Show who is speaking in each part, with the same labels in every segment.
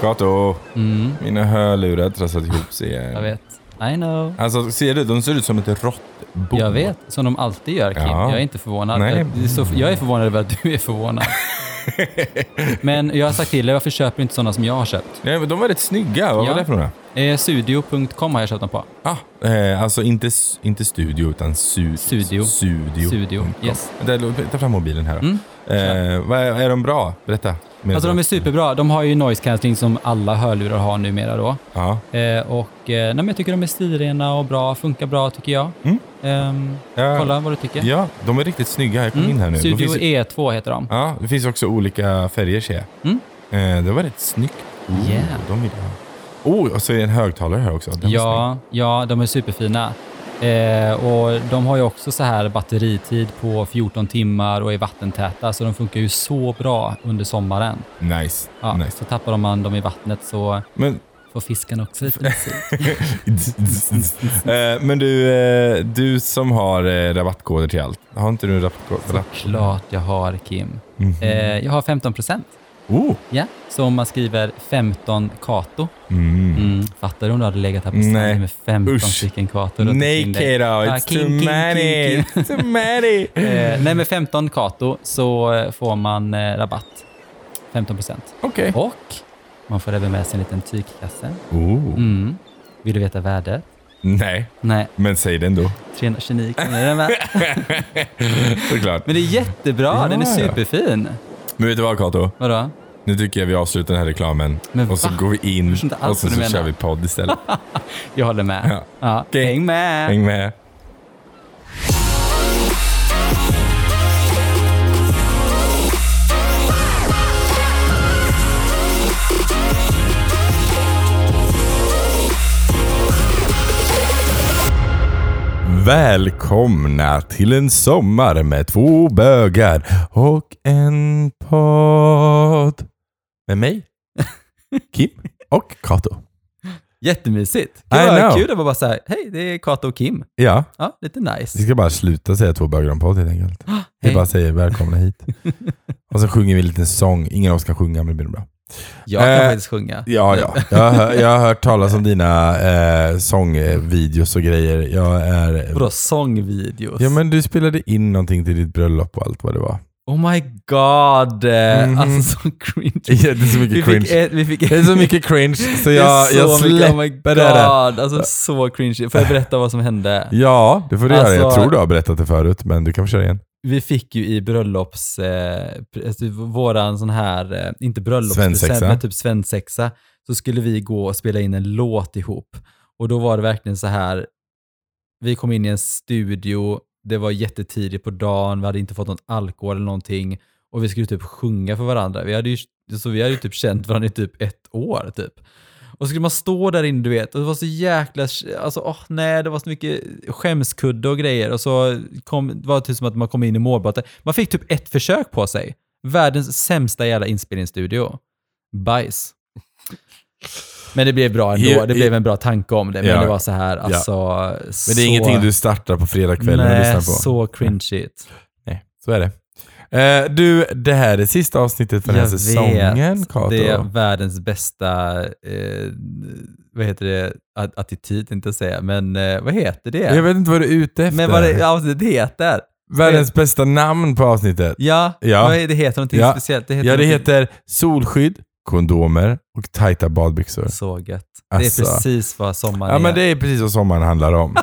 Speaker 1: Kato,
Speaker 2: Mm,
Speaker 1: mina hörlurar trasslat ihop sig
Speaker 2: jag
Speaker 1: igen.
Speaker 2: vet. I know.
Speaker 1: Alltså, ser du? De ser ut som ett råttbo.
Speaker 2: Jag vet, som de alltid gör Kim.
Speaker 1: Oh. Ja.
Speaker 2: Jag är inte förvånad.
Speaker 1: Nej.
Speaker 2: Det är så, jag är förvånad över att du är förvånad. Men jag har sagt till dig, varför köper du inte sådana som jag har köpt?
Speaker 1: Nej, men de var rätt snygga. Vad
Speaker 2: Ja.
Speaker 1: var det för några?
Speaker 2: Eh, Sudio.com har jag köpt dem på.
Speaker 1: Ah, eh, alltså inte, s- inte studio, utan su-
Speaker 2: Studio.
Speaker 1: Studio. Mm,
Speaker 2: Studio, yes.
Speaker 1: Vänta, låt- Ta fram mobilen här. då.
Speaker 2: Mm.
Speaker 1: Eh, vad är, är de bra? Berätta. Menar
Speaker 2: Alltså
Speaker 1: du?
Speaker 2: de är superbra. De har ju noise cancelling som alla hörlurar har numera då.
Speaker 1: Ja.
Speaker 2: Eh, och eh, nej, men jag tycker de är stilrena och bra, funkar bra tycker jag.
Speaker 1: Mm.
Speaker 2: Ehm,
Speaker 1: Ja.
Speaker 2: kolla vad du tycker.
Speaker 1: Ja, de är riktigt snygga. Jag kom in här nu.
Speaker 2: Mm.
Speaker 1: De
Speaker 2: Studio
Speaker 1: finns,
Speaker 2: E2 heter de.
Speaker 1: ja, det finns också olika färger ser jag.
Speaker 2: Mm.
Speaker 1: Eh, det var rätt snyggt. Oh,
Speaker 2: Yeah.
Speaker 1: De vill jag ha. Oh, och så är det en högtalare här också. Den var snygg.
Speaker 2: Ja, ja, de är superfina. Eh, och de har ju också så här batteritid på 14 timmar och är vattentäta, så de funkar ju så bra under sommaren.
Speaker 1: Nice.
Speaker 2: Ja,
Speaker 1: nice.
Speaker 2: Så tappar man dem i vattnet så
Speaker 1: Men,
Speaker 2: får fisken också lite musik.
Speaker 1: eh, men du, eh, du som har eh, rabattkoder till allt. Har inte du en rabattkod?
Speaker 2: Såklart jag har, Kim.
Speaker 1: Mhm.
Speaker 2: Eh, jag har 15 procent.
Speaker 1: Oh.
Speaker 2: Ja, så om man skriver 15 kato.
Speaker 1: Mm.
Speaker 2: Mm. Fattar du om du hade legat här på stranden
Speaker 1: Nej.
Speaker 2: med 15
Speaker 1: Usch.
Speaker 2: stycken kato runt omkring
Speaker 1: Nej
Speaker 2: dig?
Speaker 1: kiddo,
Speaker 2: Ah,
Speaker 1: it's
Speaker 2: king,
Speaker 1: too
Speaker 2: king, king,
Speaker 1: many.
Speaker 2: king.
Speaker 1: It's too many.
Speaker 2: Eh, nej, med 15 kato så eh, får man eh, rabatt. 15 procent.
Speaker 1: Okej.
Speaker 2: Och man får även med sig en liten tygkasse.
Speaker 1: Oh.
Speaker 2: Mm. Vill du veta värdet?
Speaker 1: Nej,
Speaker 2: Nej,
Speaker 1: men säg det ändå.
Speaker 2: 329 kronor är den värd.
Speaker 1: Såklart.
Speaker 2: Men det är jättebra,
Speaker 1: Ja,
Speaker 2: den är
Speaker 1: ja.
Speaker 2: superfin.
Speaker 1: Men vet du vad Kato?
Speaker 2: Vadå?
Speaker 1: Nu tycker jag vi avslutar den här reklamen.
Speaker 2: Men
Speaker 1: och så
Speaker 2: va?
Speaker 1: går vi in
Speaker 2: förstår inte alls
Speaker 1: och sen
Speaker 2: vad
Speaker 1: så
Speaker 2: du
Speaker 1: kör
Speaker 2: menar.
Speaker 1: vi podd istället.
Speaker 2: Jag håller med.
Speaker 1: Ja.
Speaker 2: Ja.
Speaker 1: Okej.
Speaker 2: Häng med!
Speaker 1: Häng med. Välkomna till en sommar med två bögar och en podd. Med mig, Kim och Kato.
Speaker 2: Jättemysigt.
Speaker 1: I
Speaker 2: Det var
Speaker 1: know.
Speaker 2: kul att vara så här, hej, det är Kato och Kim.
Speaker 1: Ja.
Speaker 2: Ja, lite
Speaker 1: Vi
Speaker 2: nice.
Speaker 1: ska bara sluta säga två bögar om podd helt enkelt. Vi
Speaker 2: Ah, Hej.
Speaker 1: bara säger välkomna hit. Och så sjunger vi en liten sång. Ingen av oss kan sjunga, men det blir bra.
Speaker 2: Jag kan
Speaker 1: Eh,
Speaker 2: faktiskt sjunga.
Speaker 1: Ja, ja. Jag har, hör- jag har hört talas om dina eh, sångvideos och grejer. Jag är...
Speaker 2: Vadå sångvideos?
Speaker 1: Ja, men du spelade in någonting till ditt bröllop och allt vad det var.
Speaker 2: Oh my god!
Speaker 1: Mhm.
Speaker 2: Alltså så cringe.
Speaker 1: Ja, det är så mycket
Speaker 2: vi
Speaker 1: cringe.
Speaker 2: Fick ett, vi fick
Speaker 1: Det är så mycket cringe, så
Speaker 2: Det är
Speaker 1: jag,
Speaker 2: så
Speaker 1: jag
Speaker 2: mycket, oh my
Speaker 1: släpper
Speaker 2: god.
Speaker 1: det där.
Speaker 2: Alltså så cringe. Får jag berätta vad som hände?
Speaker 1: Ja, det får du göra. Jag
Speaker 2: Alltså-
Speaker 1: tror du har berättat det förut, men du kan få köra igen.
Speaker 2: Vi fick ju i bröllops, eh, pr- alltså våran sån här, eh, inte bröllopspresent,
Speaker 1: Svensexa.
Speaker 2: men typ svensexa, så skulle vi gå och spela in en låt ihop. Och då var det verkligen så här, vi kom in i en studio, det var jättetidigt på dagen, vi hade inte fått någon alkohol eller någonting och vi skulle typ sjunga för varandra. Vi hade ju, så vi hade ju typ känt varandra i typ ett år typ. Och så skulle man stå där inne, du vet. Och det var så jäkla... Alltså, åh nej, det var så mycket skämskudde och grejer. Och så kom, det var det typ som att man kom in i målbrottet. Man fick typ ett försök på sig. Världens sämsta jävla inspelningsstudio. Bajs. Men det blev bra ändå.
Speaker 1: Ja,
Speaker 2: det
Speaker 1: ja.
Speaker 2: blev en bra tanke om det. Men
Speaker 1: Ja.
Speaker 2: det var så här, alltså...
Speaker 1: Men det är
Speaker 2: så,
Speaker 1: ingenting du startar på fredagskvällen och
Speaker 2: Nej,
Speaker 1: lyssnar på.
Speaker 2: så cringeigt.
Speaker 1: Nej, så är det. Eh, du, det här är sista avsnittet för den här säsongen, Kato.
Speaker 2: Det är världens bästa, eh, vad heter det, Att- attityd inte att säga, men eh, vad heter det?
Speaker 1: Jag vet inte vad du är ute efter.
Speaker 2: men vad det avsnittet heter?
Speaker 1: Världens bästa namn på avsnittet.
Speaker 2: Ja,
Speaker 1: Ja.
Speaker 2: vad är- det heter någonting
Speaker 1: Ja.
Speaker 2: speciellt. Det heter
Speaker 1: Ja, det
Speaker 2: någonting-
Speaker 1: heter solskydd, kondomer och tajta badbyxor.
Speaker 2: Så gött.
Speaker 1: Alltså.
Speaker 2: Det är precis vad sommaren
Speaker 1: Ja, men
Speaker 2: är.
Speaker 1: det är precis vad sommaren handlar om.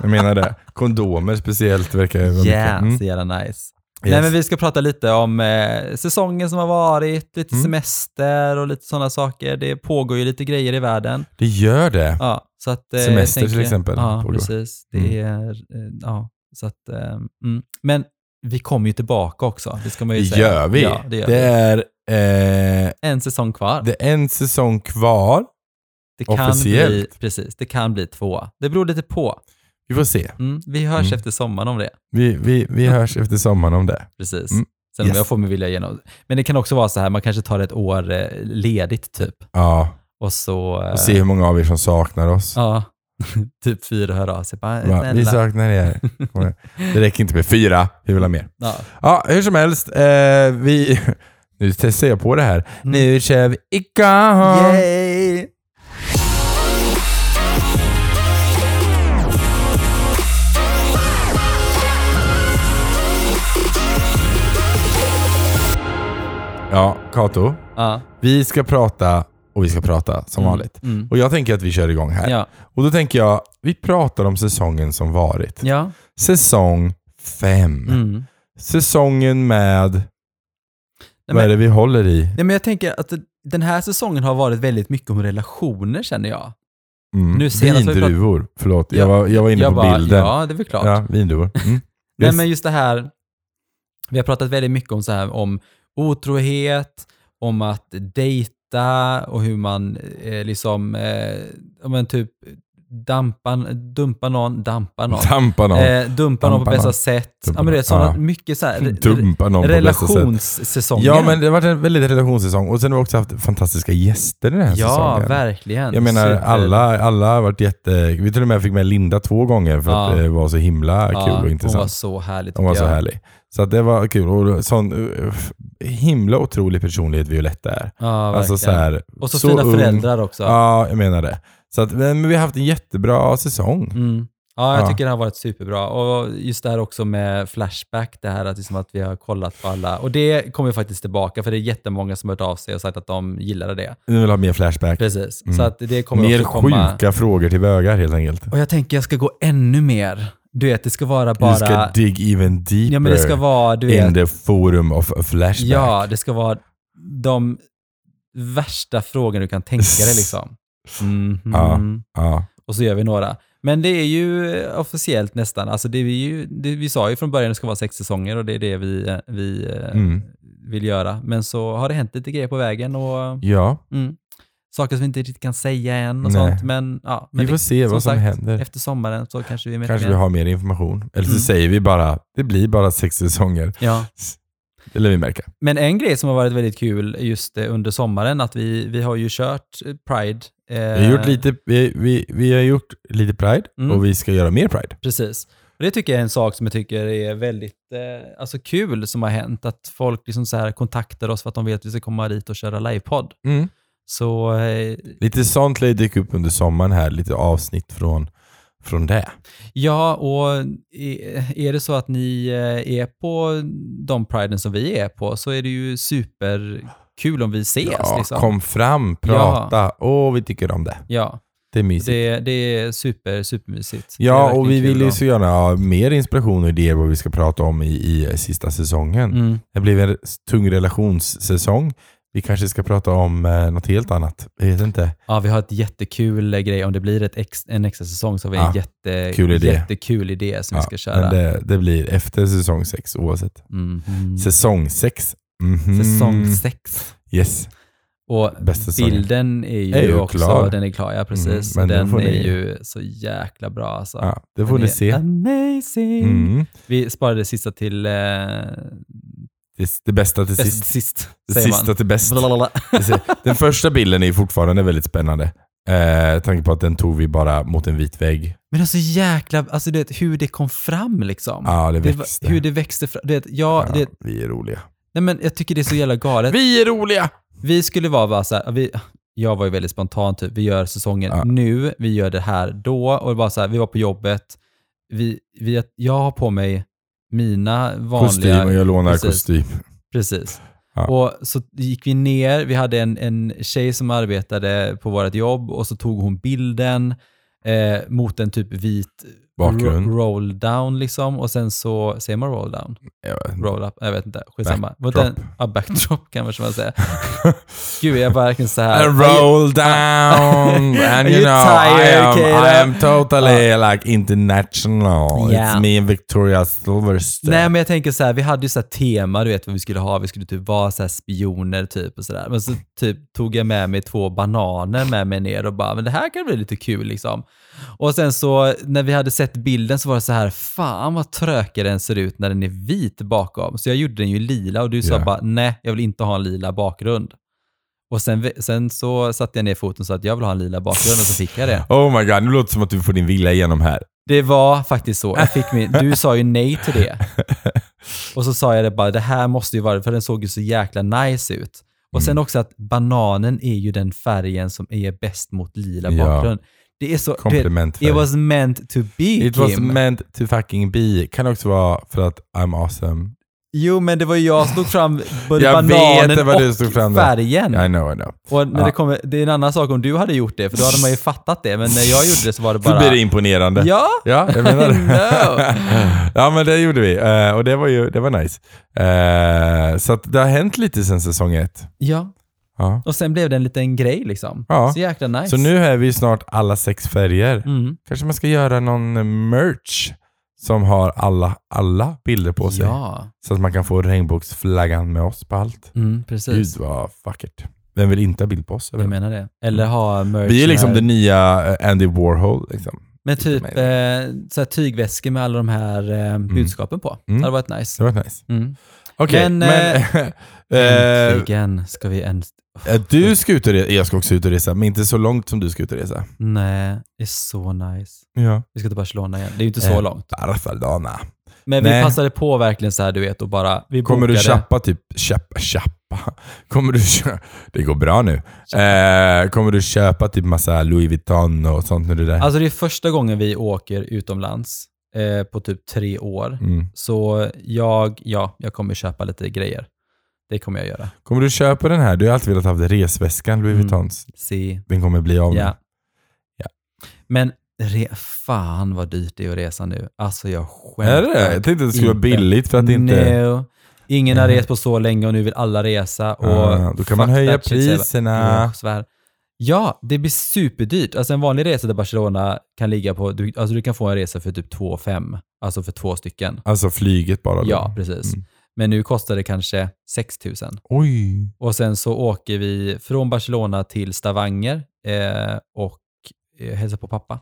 Speaker 1: Jag menar det. Kondomer speciellt verkar ju vara
Speaker 2: Yeah,
Speaker 1: mycket. Mm.
Speaker 2: så jävla nice.
Speaker 1: Yes.
Speaker 2: Nej, men vi ska prata lite om eh, säsongen som har varit, lite
Speaker 1: Mm.
Speaker 2: semester och lite sådana saker. Det pågår ju lite grejer i världen.
Speaker 1: Det gör det.
Speaker 2: Ja, så att, eh, jag
Speaker 1: Semester till
Speaker 2: tänker-
Speaker 1: exempel Mm.
Speaker 2: Ja,
Speaker 1: pågår.
Speaker 2: precis. Det är, eh, ja, så att, eh, mm. Men vi kommer ju tillbaka också. Det ska man
Speaker 1: Det
Speaker 2: ju säga.
Speaker 1: gör vi.
Speaker 2: Ja, det gör vi.
Speaker 1: är, eh,
Speaker 2: En säsong kvar. Det,
Speaker 1: det är en säsong kvar.
Speaker 2: kan bli,
Speaker 1: officiellt.
Speaker 2: precis, det kan bli två. Det beror lite på.
Speaker 1: Vi får se.
Speaker 2: Mm. Vi hörs
Speaker 1: Mm.
Speaker 2: efter sommaren om det.
Speaker 1: Vi, vi, vi hörs efter sommaren om det.
Speaker 2: Precis.
Speaker 1: Mm.
Speaker 2: Sen
Speaker 1: Yes.
Speaker 2: om jag får mig vilja igenom. Men det kan också vara så här, man kanske tar ett år eh, ledigt typ.
Speaker 1: Ja,
Speaker 2: Och så... eh,
Speaker 1: och se hur många av er som saknar oss.
Speaker 2: Ja, typ fyra hör av sig. Bara,
Speaker 1: Va, vi
Speaker 2: snälla.
Speaker 1: saknar er. Kom igen. Det räcker inte med fyra, vi vill ha mer.
Speaker 2: ja.
Speaker 1: Ja, hur som helst. Eh, vi, Nu testar jag på det här. Nu kör vi igång!
Speaker 2: Mm. Yay!
Speaker 1: Ja, Kato.
Speaker 2: Ja.
Speaker 1: Vi ska prata och vi ska prata som
Speaker 2: Mm.
Speaker 1: vanligt.
Speaker 2: Mm.
Speaker 1: Och jag tänker att vi kör igång här.
Speaker 2: Ja.
Speaker 1: Och då tänker jag, vi pratar om säsongen som varit.
Speaker 2: Ja.
Speaker 1: Säsong fem.
Speaker 2: Mm. Nej,
Speaker 1: Säsongen med... vad är
Speaker 2: men,
Speaker 1: det vi håller i?
Speaker 2: nej, men jag tänker att den här säsongen har varit väldigt mycket om relationer känner jag.
Speaker 1: Mm.
Speaker 2: nu senast har vi pratat-
Speaker 1: vindruvor. Förlåt, jag,
Speaker 2: Ja.
Speaker 1: var, jag var inne
Speaker 2: jag
Speaker 1: på bilden.
Speaker 2: ja det är väl klart.
Speaker 1: Ja, vindruvor. Mm.
Speaker 2: Nej,
Speaker 1: Yes.
Speaker 2: men just det här, vi har pratat väldigt mycket om, så här, om otrohet, om att dejta och hur man eh, liksom, eh, om man typ dampa, dumpa någon, dampa någon.
Speaker 1: Dampa någon.
Speaker 2: Eh, dumpa någon på
Speaker 1: Dampa
Speaker 2: bästa
Speaker 1: någon.
Speaker 2: sätt.
Speaker 1: Dumpa
Speaker 2: ja, men det är
Speaker 1: någon.
Speaker 2: sådana,
Speaker 1: Ja.
Speaker 2: mycket så här, re-
Speaker 1: Dumpa någon på bästa sätt.
Speaker 2: relationssäsongen.
Speaker 1: Ja, men det har varit en väldigt relationssäsong. Och sen har vi också haft fantastiska gäster den här
Speaker 2: ja
Speaker 1: säsongen.
Speaker 2: verkligen.
Speaker 1: Jag menar,
Speaker 2: Super-
Speaker 1: alla, alla har varit jätte... Vi till och med fick med Linda två gånger för att
Speaker 2: Ja.
Speaker 1: det var så himla
Speaker 2: Ja,
Speaker 1: kul och
Speaker 2: Hon var
Speaker 1: intressant.
Speaker 2: så härlig
Speaker 1: Hon var
Speaker 2: tycker
Speaker 1: så
Speaker 2: jag.
Speaker 1: härlig. Så att det var kul. Och sån uh, f- himla otrolig personlighet Violetta är.
Speaker 2: Ja,
Speaker 1: alltså så
Speaker 2: verkligen.
Speaker 1: här,
Speaker 2: och så, fina
Speaker 1: ung.
Speaker 2: föräldrar också.
Speaker 1: Ja, jag menar det. Så att, men vi har haft en jättebra säsong.
Speaker 2: Mm. Ja, jag
Speaker 1: Ja.
Speaker 2: tycker det har varit superbra. Och just det här också med Flashback, det här att, liksom att vi har kollat på alla. Och det kommer ju faktiskt tillbaka, för det är jättemånga som har hört av sig och sagt att de gillade det.
Speaker 1: Nu vill jag ha mer flashback.
Speaker 2: Precis.
Speaker 1: Mm.
Speaker 2: Så att det kommer
Speaker 1: Mer
Speaker 2: också komma.
Speaker 1: sjuka frågor till bögar helt enkelt.
Speaker 2: Och jag tänker jag ska gå ännu mer. Du vet, det ska vara
Speaker 1: Du ska
Speaker 2: bara...
Speaker 1: dig even deeper
Speaker 2: Ja, men det ska vara, du vet,
Speaker 1: in the forum of flashback.
Speaker 2: ja, det ska vara de värsta frågorna du kan tänka dig liksom. Mhm.
Speaker 1: Ja. Ja.
Speaker 2: Och så gör vi några. Men det är ju eh, officiellt nästan. Alltså det är vi, ju, det, vi sa ju från början att det ska vara sex säsonger och det är det vi, eh, vi eh,
Speaker 1: Mm.
Speaker 2: vill göra. Men så har det hänt lite grejer på vägen och
Speaker 1: ja.
Speaker 2: mm, saker som vi inte riktigt kan säga än
Speaker 1: Nej.
Speaker 2: och sånt. Men, ja, men
Speaker 1: Vi får
Speaker 2: det-
Speaker 1: se vad som
Speaker 2: sagt,
Speaker 1: händer.
Speaker 2: Efter sommaren så kanske vi är med
Speaker 1: Kanske vi
Speaker 2: mer.
Speaker 1: har mer information. Eller så
Speaker 2: Mm.
Speaker 1: säger vi bara, det blir bara sex säsonger.
Speaker 2: Ja.
Speaker 1: Eller vi märker.
Speaker 2: Men en grej som har varit väldigt kul just eh, under sommaren att vi, vi har ju kört eh, Pride. Eh,
Speaker 1: Vi har gjort lite, vi, vi, vi har gjort lite Pride
Speaker 2: Mm.
Speaker 1: och vi ska göra mer Pride.
Speaker 2: Precis. Och det tycker jag är en sak som jag tycker är väldigt eh, alltså kul som har hänt. Att folk liksom så här kontaktar oss för att de vet att vi ska komma dit och köra livepodd. Så eh,
Speaker 1: Lite sånt lär ju dyka upp under sommaren här. Lite avsnitt från, från det.
Speaker 2: ja, och eh, är det så att ni eh, är på de priden som vi är på så är det ju superkul om vi ses.
Speaker 1: Ja,
Speaker 2: liksom.
Speaker 1: Kom fram, prata. Åh, vi tycker om det.
Speaker 2: ja
Speaker 1: Det är mysigt.
Speaker 2: det, det är super, supermysigt. Det är
Speaker 1: Ja,
Speaker 2: verkligen
Speaker 1: och vi
Speaker 2: kul
Speaker 1: vill ju
Speaker 2: att-
Speaker 1: så gärna ha mer inspiration och idéer vad vi ska prata om i, i sista säsongen.
Speaker 2: Mm.
Speaker 1: Det blev en tung relationssäsong. Vi kanske ska prata om eh, något helt annat. Jag vet inte.
Speaker 2: Ja, vi har ett jättekul eh, grej. Om det blir ett ex, en extra säsong så har vi en
Speaker 1: Ja,
Speaker 2: jätte,
Speaker 1: kul idé.
Speaker 2: jättekul idé som vi ska köra.
Speaker 1: Men det, det blir efter säsong sex oavsett.
Speaker 2: Mhm.
Speaker 1: Säsong sex. Mhm.
Speaker 2: Säsong sex.
Speaker 1: Yes.
Speaker 2: Mm. Och
Speaker 1: Bästa säsongen.
Speaker 2: bilden är ju,
Speaker 1: Är ju
Speaker 2: också,
Speaker 1: klar.
Speaker 2: den är klar, ja precis.
Speaker 1: Mm, men
Speaker 2: den
Speaker 1: då får
Speaker 2: är
Speaker 1: ni-
Speaker 2: ju så jäkla bra alltså.
Speaker 1: Ja, det får
Speaker 2: Den
Speaker 1: ni
Speaker 2: är
Speaker 1: se.
Speaker 2: Amazing!
Speaker 1: Mm.
Speaker 2: Vi sparade det sista till eh,
Speaker 1: Det, det bästa till
Speaker 2: bäst
Speaker 1: sist.
Speaker 2: till sist,
Speaker 1: Det
Speaker 2: säger
Speaker 1: sista
Speaker 2: man.
Speaker 1: till bäst.
Speaker 2: Blablabla.
Speaker 1: Den första bilden är ju fortfarande väldigt spännande. Eh, tanke på att den tog vi bara mot en vit vägg.
Speaker 2: Men alltså jäkla, alltså du vet hur det kom fram liksom.
Speaker 1: Ja, det
Speaker 2: Det var-
Speaker 1: växte.
Speaker 2: hur det växte fram. Du vet, ja,
Speaker 1: ja,
Speaker 2: Det,
Speaker 1: vi är roliga.
Speaker 2: nej men jag tycker det är så jävla galet.
Speaker 1: Vi är roliga!
Speaker 2: Vi skulle vara bara så här, vi, jag var ju väldigt spontan typ, vi gör säsongen
Speaker 1: Ja.
Speaker 2: nu, vi gör det här då. Och det var så här, vi var på jobbet, vi, vi, jag har på mig mina vanliga...
Speaker 1: Kostym och jag lånar
Speaker 2: Precis.
Speaker 1: kostym.
Speaker 2: Precis.
Speaker 1: Ja.
Speaker 2: Och så gick vi ner, vi hade en, en tjej som arbetade på vårt jobb och så tog hon bilden eh, mot en typ vit
Speaker 1: Bakgrund.
Speaker 2: ro- roll down liksom och sen så, säger man roll down?
Speaker 1: Ja,
Speaker 2: Roll up? Jag vet inte, skitsamma. Mot
Speaker 1: Backdrop.
Speaker 2: en- Ja, backdrop kan man kanske man säga. Gud, jag är verkligen så här.
Speaker 1: And roll down and you
Speaker 2: You
Speaker 1: know I
Speaker 2: tired,
Speaker 1: am,
Speaker 2: kiddo?
Speaker 1: I am totally like international.
Speaker 2: Yeah.
Speaker 1: It's me and Victoria Silverstone.
Speaker 2: Nej, men jag tänker så här, vi hade ju så här tema, du vet vad vi skulle ha, vi skulle typ vara så här spioner typ och sådär. Men så typ tog jag med mig två bananer med mig ner och bara, men det här kan bli lite kul liksom. Och sen så när vi hade sett bilden så var det så här, fan vad trökig den ser ut när den är vit bakom. Så jag gjorde den ju lila och du sa
Speaker 1: Ja.
Speaker 2: bara, nej, jag vill inte ha en lila bakgrund. Och sen, sen så satte jag ner foten och sa att jag vill ha en lila bakgrund och så fick jag det.
Speaker 1: Oh my god, nu låter det som att du får din vilja igenom här.
Speaker 2: Det var faktiskt så. Jag fick min, du sa ju nej till det. Och så sa jag det bara, det här måste ju vara för den såg ju så jäkla nice ut. Och
Speaker 1: Mm.
Speaker 2: sen också att bananen är ju den färgen som är bäst mot lila
Speaker 1: Ja.
Speaker 2: bakgrund. Det är så... du vet,
Speaker 1: Kompliment för
Speaker 2: It was meant to be,
Speaker 1: It
Speaker 2: Kim.
Speaker 1: was meant to fucking be. Kan också vara för att I'm awesome.
Speaker 2: Jo, men det var ju jag som tog fram både
Speaker 1: Jag vet
Speaker 2: bananen
Speaker 1: vad
Speaker 2: och
Speaker 1: du stod fram där.
Speaker 2: färgen.
Speaker 1: I know, I know.
Speaker 2: Och när
Speaker 1: Ja.
Speaker 2: det, kommer, det är en annan sak om du hade gjort det, för då hade man ju fattat det. Men när jag gjorde det så var det
Speaker 1: Så
Speaker 2: bara...
Speaker 1: blir det imponerande.
Speaker 2: ja,
Speaker 1: Ja, jag menar det.
Speaker 2: No.
Speaker 1: ja, men det gjorde vi. Eh, och det var ju det var nice. Eh, så att det har hänt lite sen säsong ett.
Speaker 2: ja.
Speaker 1: Ja.
Speaker 2: Och sen blev det en liten grej liksom.
Speaker 1: Ja.
Speaker 2: Så jäkla nice.
Speaker 1: Så nu är vi snart alla sex färger.
Speaker 2: Mm.
Speaker 1: Kanske man ska göra någon eh, merch som har alla, alla bilder på sig.
Speaker 2: Ja,
Speaker 1: Så att man kan få regnbågsflaggan med oss på allt.
Speaker 2: mm, precis.
Speaker 1: Gud vad vackert. Vem vill inte ha bild på oss?
Speaker 2: Jag menar det. Eller ha merch.
Speaker 1: Vi är liksom
Speaker 2: här.
Speaker 1: det nya eh, Andy Warhol. Liksom.
Speaker 2: Med typ eh,
Speaker 1: Amazing.
Speaker 2: så här tygväskor med alla de här eh, budskapen på.
Speaker 1: Mm.
Speaker 2: Det hade varit nice.
Speaker 1: Det var nice.
Speaker 2: Mm.
Speaker 1: Okej,
Speaker 2: Men,
Speaker 1: men... eh,
Speaker 2: Äntligen ska vi en...
Speaker 1: eh, du ska ut och resa. Jag ska också ut och resa, men inte så långt som du ska ut och resa.
Speaker 2: Nej, det är så nice.
Speaker 1: Ja.
Speaker 2: Vi ska till Barcelona igen. Det är ju inte så
Speaker 1: Eh,
Speaker 2: långt.
Speaker 1: Barcelona.
Speaker 2: Men vi
Speaker 1: nej.
Speaker 2: passade på verkligen så här, du vet, och bara... Vi
Speaker 1: Kommer du
Speaker 2: bokade.
Speaker 1: chappa typ... Chappa? Chappa? Kommer du kö- Det går bra nu. Eh, kommer du köpa typ massa Louis Vuitton och sånt när du är där?
Speaker 2: Alltså det är första gången vi åker utomlands eh, på typ tre år.
Speaker 1: Mm.
Speaker 2: Så jag, ja, jag kommer köpa lite grejer. Det kommer jag göra.
Speaker 1: Kommer du köpa den här? Du har alltid velat ha resväskan, Louis
Speaker 2: Mm.
Speaker 1: Vuittons.
Speaker 2: Se.
Speaker 1: Den kommer bli av nu.
Speaker 2: Ja.
Speaker 1: Ja.
Speaker 2: Men re, fan vad dyrt det är att resa nu. Alltså jag skämtar.
Speaker 1: Är det det? Jag tänkte att det skulle vara
Speaker 2: Inte.
Speaker 1: billigt för att det inte...
Speaker 2: No. Ingen har
Speaker 1: Nej.
Speaker 2: rest på så länge och nu vill alla resa. Och
Speaker 1: Ah, då kan man
Speaker 2: fuck
Speaker 1: höja
Speaker 2: that shit, säger jag bara.
Speaker 1: priserna.
Speaker 2: Jo, svär. Ja, det blir superdyrt. Alltså en vanlig resa till Barcelona kan ligga på, du, alltså du kan få en resa för typ 2 5, alltså för två stycken.
Speaker 1: Alltså flyget bara. då.
Speaker 2: Ja, precis.
Speaker 1: Mm.
Speaker 2: Men nu kostar det kanske 6 000.
Speaker 1: Oj.
Speaker 2: Och sen så åker vi från Barcelona till Stavanger eh, och eh, hälsar på pappa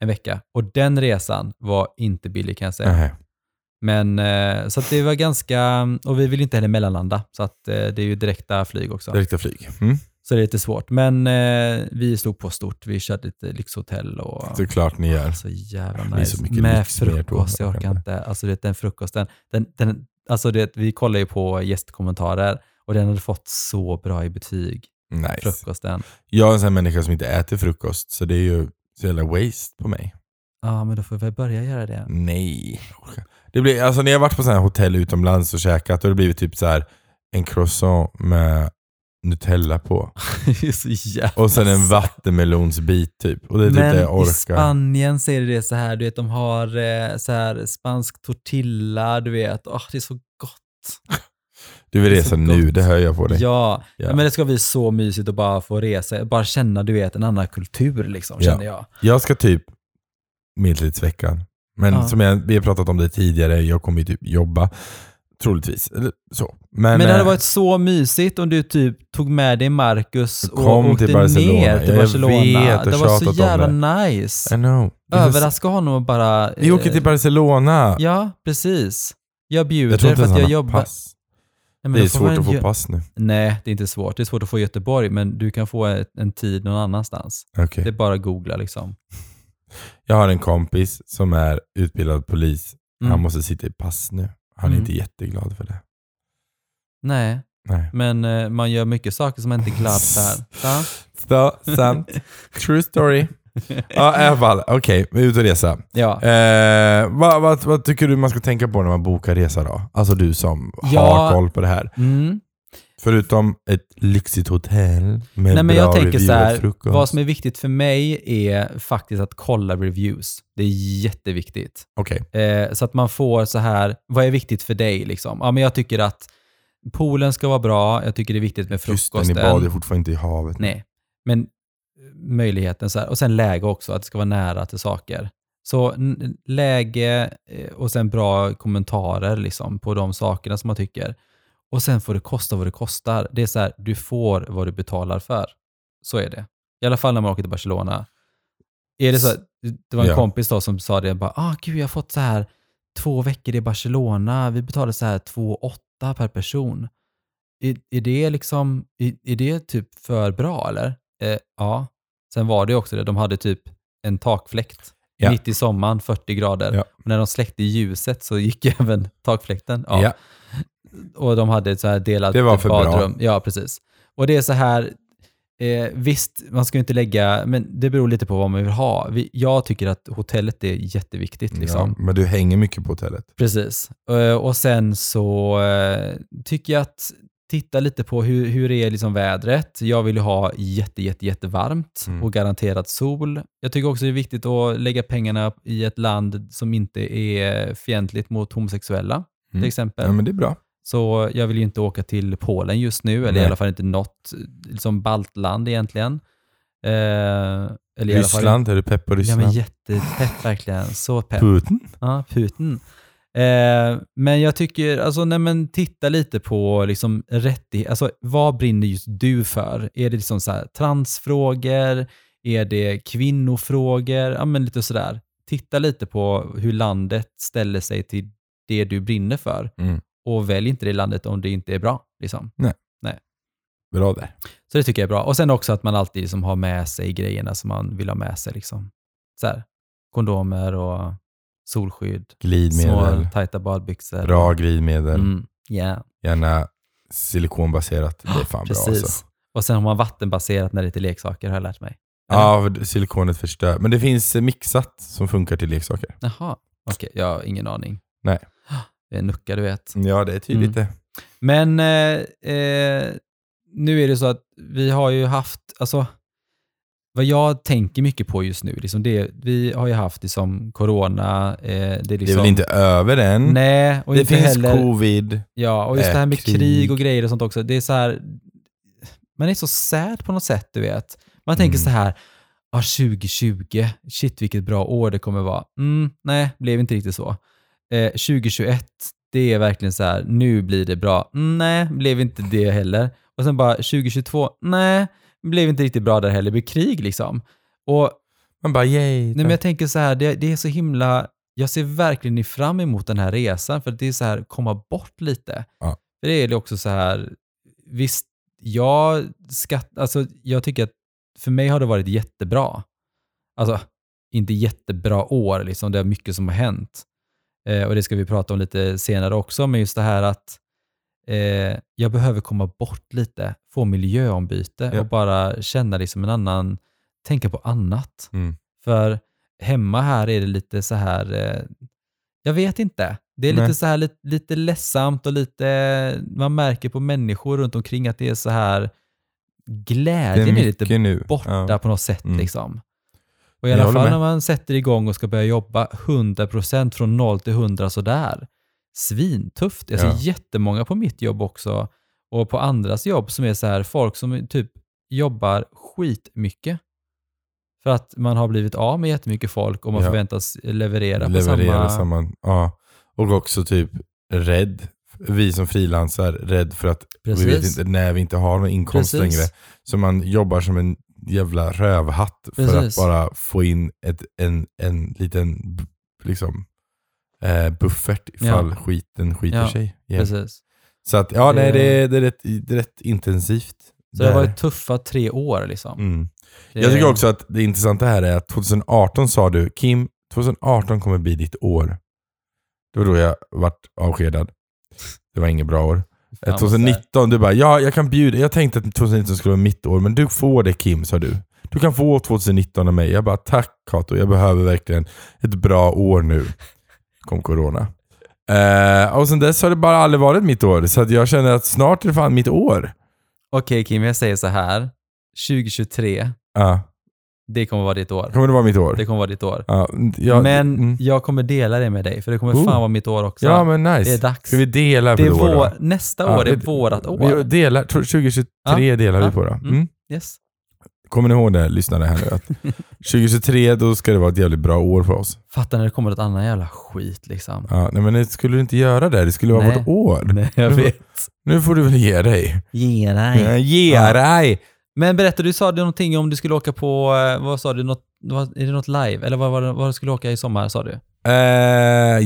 Speaker 2: en vecka. Och den resan var inte billig kan jag säga.
Speaker 1: Nej.
Speaker 2: Men eh, så att det var ganska, och vi vill ju inte heller mellanlanda, så att eh, det är ju direkta flyg också.
Speaker 1: Direkta flyg. Mm.
Speaker 2: Så det är lite svårt. Men eh, vi stod på stort, vi körde lite lyxhotell och
Speaker 1: Såklart ni gör.
Speaker 2: så jävla
Speaker 1: Det är
Speaker 2: nice.
Speaker 1: så mycket
Speaker 2: Med
Speaker 1: lyx med er då,
Speaker 2: frukost, jag orkar
Speaker 1: verkligen.
Speaker 2: inte. Alltså du vet, den frukosten, den, den, alltså du vet, vi kollar ju på gästkommentarer och den hade fått så bra i betyg,
Speaker 1: Nice.
Speaker 2: frukosten.
Speaker 1: Jag är en sån här människa som inte äter frukost, så det är ju så jävla waste på mig.
Speaker 2: Ja, men då får vi väl börja göra det.
Speaker 1: Nej. Det blir, alltså när jag har varit på sån här hotell utomlands och käkat, då har det blivit typ så här en croissant med Nutella på.
Speaker 2: Det är så jävla
Speaker 1: Och sen en vattenmelonsbit typ. Och det är typ det
Speaker 2: Alltså. Men
Speaker 1: jag
Speaker 2: i
Speaker 1: orkar.
Speaker 2: Spanien ser det så här, du vet de har eh, så här spansk tortilla, du vet. Åh, det är så gott.
Speaker 1: Du vill
Speaker 2: det är
Speaker 1: resa
Speaker 2: så
Speaker 1: nu,
Speaker 2: gott.
Speaker 1: det hör jag på dig.
Speaker 2: Ja,
Speaker 1: Ja.
Speaker 2: men det ska bli så mysigt att bara få resa, bara känna du vet en annan kultur liksom,
Speaker 1: Ja.
Speaker 2: känner jag.
Speaker 1: Jag ska typ medeltidsveckan. Men
Speaker 2: Ja.
Speaker 1: som jag, vi har pratat om det tidigare, jag kommer ju typ jobba. Troligtvis. Eller så. Men,
Speaker 2: Men det hade
Speaker 1: eh,
Speaker 2: varit så mysigt om du typ tog med dig Marcus och
Speaker 1: Kom
Speaker 2: åkte
Speaker 1: till Barcelona.
Speaker 2: ner till
Speaker 1: Jag
Speaker 2: Barcelona.
Speaker 1: vet, jag
Speaker 2: det var
Speaker 1: tjatat
Speaker 2: så
Speaker 1: om
Speaker 2: jävla
Speaker 1: I
Speaker 2: nice.
Speaker 1: know. Det är så-
Speaker 2: Överraska honom och bara...
Speaker 1: Vi åker till
Speaker 2: eh,
Speaker 1: Barcelona.
Speaker 2: Ja, precis. Jag
Speaker 1: jag
Speaker 2: bjuder
Speaker 1: tror inte
Speaker 2: för
Speaker 1: ens
Speaker 2: att jag
Speaker 1: han har
Speaker 2: jobbar...
Speaker 1: pass.
Speaker 2: Nej, men
Speaker 1: Det
Speaker 2: då
Speaker 1: är
Speaker 2: får
Speaker 1: svårt
Speaker 2: man
Speaker 1: att
Speaker 2: ju-
Speaker 1: få pass nu.
Speaker 2: Nej, det är inte svårt. Det är svårt att få i Göteborg, men du kan få ett- en tid någon annanstans.
Speaker 1: Okej.
Speaker 2: Det är bara att googla liksom.
Speaker 1: Jag har en kompis som är utbildad polis.
Speaker 2: Mm.
Speaker 1: Han måste sitta i pass nu. Han är
Speaker 2: Mm.
Speaker 1: inte jätteglad för det.
Speaker 2: Nej,
Speaker 1: Nej.
Speaker 2: men eh, man gör mycket saker som man inte är glad för. Va?
Speaker 1: Så, sant. True story. Ja, i alla fall. Okej, vi är ute och resa.
Speaker 2: Ja.
Speaker 1: Eh, vad, vad, vad tycker du man ska tänka på när man bokar resa då? Alltså du som
Speaker 2: Ja.
Speaker 1: har koll på det här.
Speaker 2: Mm.
Speaker 1: Förutom ett lyxigt hotell med
Speaker 2: Nej, men
Speaker 1: bra
Speaker 2: jag tänker
Speaker 1: review
Speaker 2: så
Speaker 1: och
Speaker 2: här,
Speaker 1: frukost.
Speaker 2: vad som är viktigt för mig är faktiskt att kolla reviews. Det är jätteviktigt.
Speaker 1: Okej.
Speaker 2: Eh, så att man får så här, vad är viktigt för dig liksom? Ja, men jag tycker att poolen ska vara bra, jag tycker det är viktigt med
Speaker 1: Frukosten i
Speaker 2: frukosten.
Speaker 1: bad är fortfarande inte i havet.
Speaker 2: Nej, men eh, möjligheten så här. Och sen läge också, att det ska vara nära till saker. Så n- läge eh, och sen bra kommentarer liksom på de sakerna som man tycker. Och sen får det kosta vad det kostar. Det är så här, du får vad du betalar för. Så är det. I alla fall när man åker till Barcelona. Är det så att, det var en
Speaker 1: Ja.
Speaker 2: kompis då som sa det, bara, ah, gud jag har fått så här två veckor i Barcelona, vi betalar så här 2,8 per person. Är, är, det liksom, är, är det typ för bra eller? Eh, ja. Sen var det ju också det, de hade typ en takfläkt.
Speaker 1: Ja.
Speaker 2: mitt i sommaren, 40 grader.
Speaker 1: Ja.
Speaker 2: Och när de släckte ljuset så gick även takfläkten av.
Speaker 1: Ja.
Speaker 2: Och de hade ett så här delat
Speaker 1: Det var för bra.
Speaker 2: badrum. Ja, precis. Och det är så här, eh, visst, man ska ju inte lägga, men det beror lite på vad man vill ha. Vi, jag tycker att hotellet är jätteviktigt. Liksom.
Speaker 1: Ja, men du hänger mycket på hotellet.
Speaker 2: Precis. Eh, Och sen så eh, tycker jag att titta lite på hur, hur är liksom vädret. Jag vill ju ha jätte, jätte, jättevarmt
Speaker 1: Mm.
Speaker 2: och garanterat sol. Jag tycker också det är viktigt att lägga pengarna i ett land som inte är fientligt mot homosexuella, till
Speaker 1: Mm.
Speaker 2: exempel.
Speaker 1: Ja, men det är bra.
Speaker 2: Så jag vill ju inte åka till Polen just nu, eller i
Speaker 1: Nej.
Speaker 2: alla fall inte något liksom baltland egentligen. Eh, eller i alla fall...
Speaker 1: Ryssland, är du pepp på
Speaker 2: Ja,
Speaker 1: Ryssland?
Speaker 2: men jättepepp verkligen. Så pepp.
Speaker 1: Putin?
Speaker 2: Ja, Putin. Eh, men jag tycker, alltså nej men titta lite på liksom rättigheter, alltså vad brinner just du för? Är det liksom så här transfrågor? Är det kvinnofrågor? Ja men lite sådär. Titta lite på hur landet ställer sig till det du brinner för
Speaker 1: Mm.
Speaker 2: och välj inte det landet om det inte är bra. Liksom.
Speaker 1: Bra där.
Speaker 2: Så det tycker jag är bra. Och sen också att man alltid liksom har med sig grejerna som man vill ha med sig. Liksom. Så här, kondomer och solskydd.
Speaker 1: Glidmedel.
Speaker 2: Små tajta badbyxor.
Speaker 1: Bra glidmedel.
Speaker 2: Mm, yeah,
Speaker 1: Gärna silikonbaserat. Det är fan bra
Speaker 2: precis.
Speaker 1: alltså.
Speaker 2: Och sen har man vattenbaserat när det är till leksaker har jag lärt mig.
Speaker 1: Ja, för silikonet förstör. Men det finns eh, mixat som funkar till leksaker.
Speaker 2: Jaha, okej, jag har ingen aning.
Speaker 1: Nej.
Speaker 2: Jag är en nucka du vet.
Speaker 1: Ja, det är tydligt det.
Speaker 2: Mm. Men eh, eh, nu är det så att vi har ju haft, alltså vad jag tänker mycket på just nu, liksom det, vi har ju haft liksom corona, eh, det är liksom...
Speaker 1: Det är väl inte över än?
Speaker 2: Nej, och
Speaker 1: det
Speaker 2: inte
Speaker 1: finns
Speaker 2: heller...
Speaker 1: covid.
Speaker 2: Ja, och just det här med
Speaker 1: Äh,
Speaker 2: krig.
Speaker 1: krig.
Speaker 2: och grejer och sånt också. Det är så här, man är så sad på något sätt, du vet. Man tänker
Speaker 1: Mm.
Speaker 2: så här, ah, 2020, shit vilket bra år det kommer vara. Mm, nej, blev inte riktigt så. Eh, 2021, det är verkligen så här, nu blir det bra. Mm, nej, blev inte det heller. Och sen bara 2022, nej, blev inte riktigt bra där heller. Det blir krig liksom. Och
Speaker 1: Man bara yay.
Speaker 2: Nej, men jag tänker så här, det, det är så himla... Jag ser verkligen fram emot den här resan, för det är så här, komma bort lite.
Speaker 1: Ja.
Speaker 2: För det är ju också så här, visst, jag skatt, alltså jag tycker att för mig har det varit jättebra. Alltså, inte jättebra år, liksom. det är mycket som har hänt. Eh, och det ska vi prata om lite senare också, men just det här att eh, jag behöver komma bort lite, få miljöombyte
Speaker 1: Ja.
Speaker 2: och bara känna det som en annan, tänka på annat.
Speaker 1: Mm.
Speaker 2: För hemma här är det lite så här, eh, jag vet inte. Det är lite
Speaker 1: Nej.
Speaker 2: så här lite, lite ledsamt och lite, eh, man märker på människor runt omkring att det är så här,
Speaker 1: det är
Speaker 2: glädjen är,
Speaker 1: mycket
Speaker 2: lite
Speaker 1: nu.
Speaker 2: borta
Speaker 1: Ja.
Speaker 2: på något sätt
Speaker 1: Mm.
Speaker 2: liksom. Och i
Speaker 1: Jag
Speaker 2: alla
Speaker 1: håller
Speaker 2: fall
Speaker 1: med.
Speaker 2: när man sätter igång och ska börja jobba 100% från 0 till 100 sådär. Svintufft. Jag ser
Speaker 1: Ja.
Speaker 2: jättemånga på mitt jobb också och på andras jobb som är så här folk som typ jobbar skitmycket. För att man har blivit av med jättemycket folk och man
Speaker 1: Ja.
Speaker 2: förväntas leverera,
Speaker 1: Leverera
Speaker 2: på samma...
Speaker 1: samma... Ja. Och också typ rädd. Vi som frilansar, rädd för att
Speaker 2: Precis.
Speaker 1: vi vet inte när vi inte har någon inkomst
Speaker 2: Precis.
Speaker 1: längre. Så man jobbar som en jävla rövhatt för
Speaker 2: Precis.
Speaker 1: att bara få in ett, en, en liten b- liksom, eh, buffert ifall skiten skiter
Speaker 2: Ja,
Speaker 1: sig. igen.
Speaker 2: Precis.
Speaker 1: Så att, ja,
Speaker 2: Det-
Speaker 1: nej, det, är- det, är rätt, det är rätt intensivt.
Speaker 2: Så det har
Speaker 1: Där.
Speaker 2: varit tuffa tre år liksom.
Speaker 1: Mm.
Speaker 2: Det-
Speaker 1: Jag tycker också att det intressanta här är att 2018 sa du, Kim, 2018 kommer bli ditt år. Det var då jag vart avskedad. Det var inget bra år.
Speaker 2: Fan, vad
Speaker 1: 2019, Eh, du bara, ja jag kan bjuda, jag tänkte att 2019 skulle vara mitt år, men du får det Kim, sa du. Du kan få 2019 av mig. Jag bara, tack Kato, jag behöver verkligen ett bra år nu. Kom corona. Eh, och sen dess har det bara aldrig varit mitt år, så att jag känner att snart är det fan mitt år.
Speaker 2: Okej Kim, jag säger så här. 2023,
Speaker 1: Ja,
Speaker 2: det kommer vara ditt år.
Speaker 1: kommer det vara mitt år?
Speaker 2: Det kommer vara ditt år.
Speaker 1: Ja, jag-
Speaker 2: men
Speaker 1: mm.
Speaker 2: jag kommer dela det med dig, för det kommer
Speaker 1: Oh.
Speaker 2: fan vara mitt år också.
Speaker 1: Ja men nice.
Speaker 2: det är dags.
Speaker 1: Ska vi dela på
Speaker 2: det är
Speaker 1: det år då?
Speaker 2: vår, nästa år är
Speaker 1: vi-
Speaker 2: vårat
Speaker 1: Vi
Speaker 2: år.
Speaker 1: delar, 2023 delar
Speaker 2: Ja.
Speaker 1: vi på då.
Speaker 2: Mm.
Speaker 1: Mm.
Speaker 2: Yes.
Speaker 1: Kommer ni ihåg det lyssnare här nu? Att 2023 då ska det vara ett jävligt bra år för oss.
Speaker 2: Fattar när det kommer något annat jävla skit liksom.
Speaker 1: Ja, nej, men det skulle du inte göra det. Det skulle vara
Speaker 2: Nej.
Speaker 1: vårt år.
Speaker 2: Nej, jag
Speaker 1: Nu-
Speaker 2: vet.
Speaker 1: Nu får du väl ge dig.
Speaker 2: Ge
Speaker 1: Ja, Ge
Speaker 2: Ja.
Speaker 1: dig!
Speaker 2: Men berätta, du sa det någonting om du skulle åka på, eh, vad sa du, något, vad, är det något live? Eller vad var det, vad du skulle åka i sommar sa du?
Speaker 1: Eh,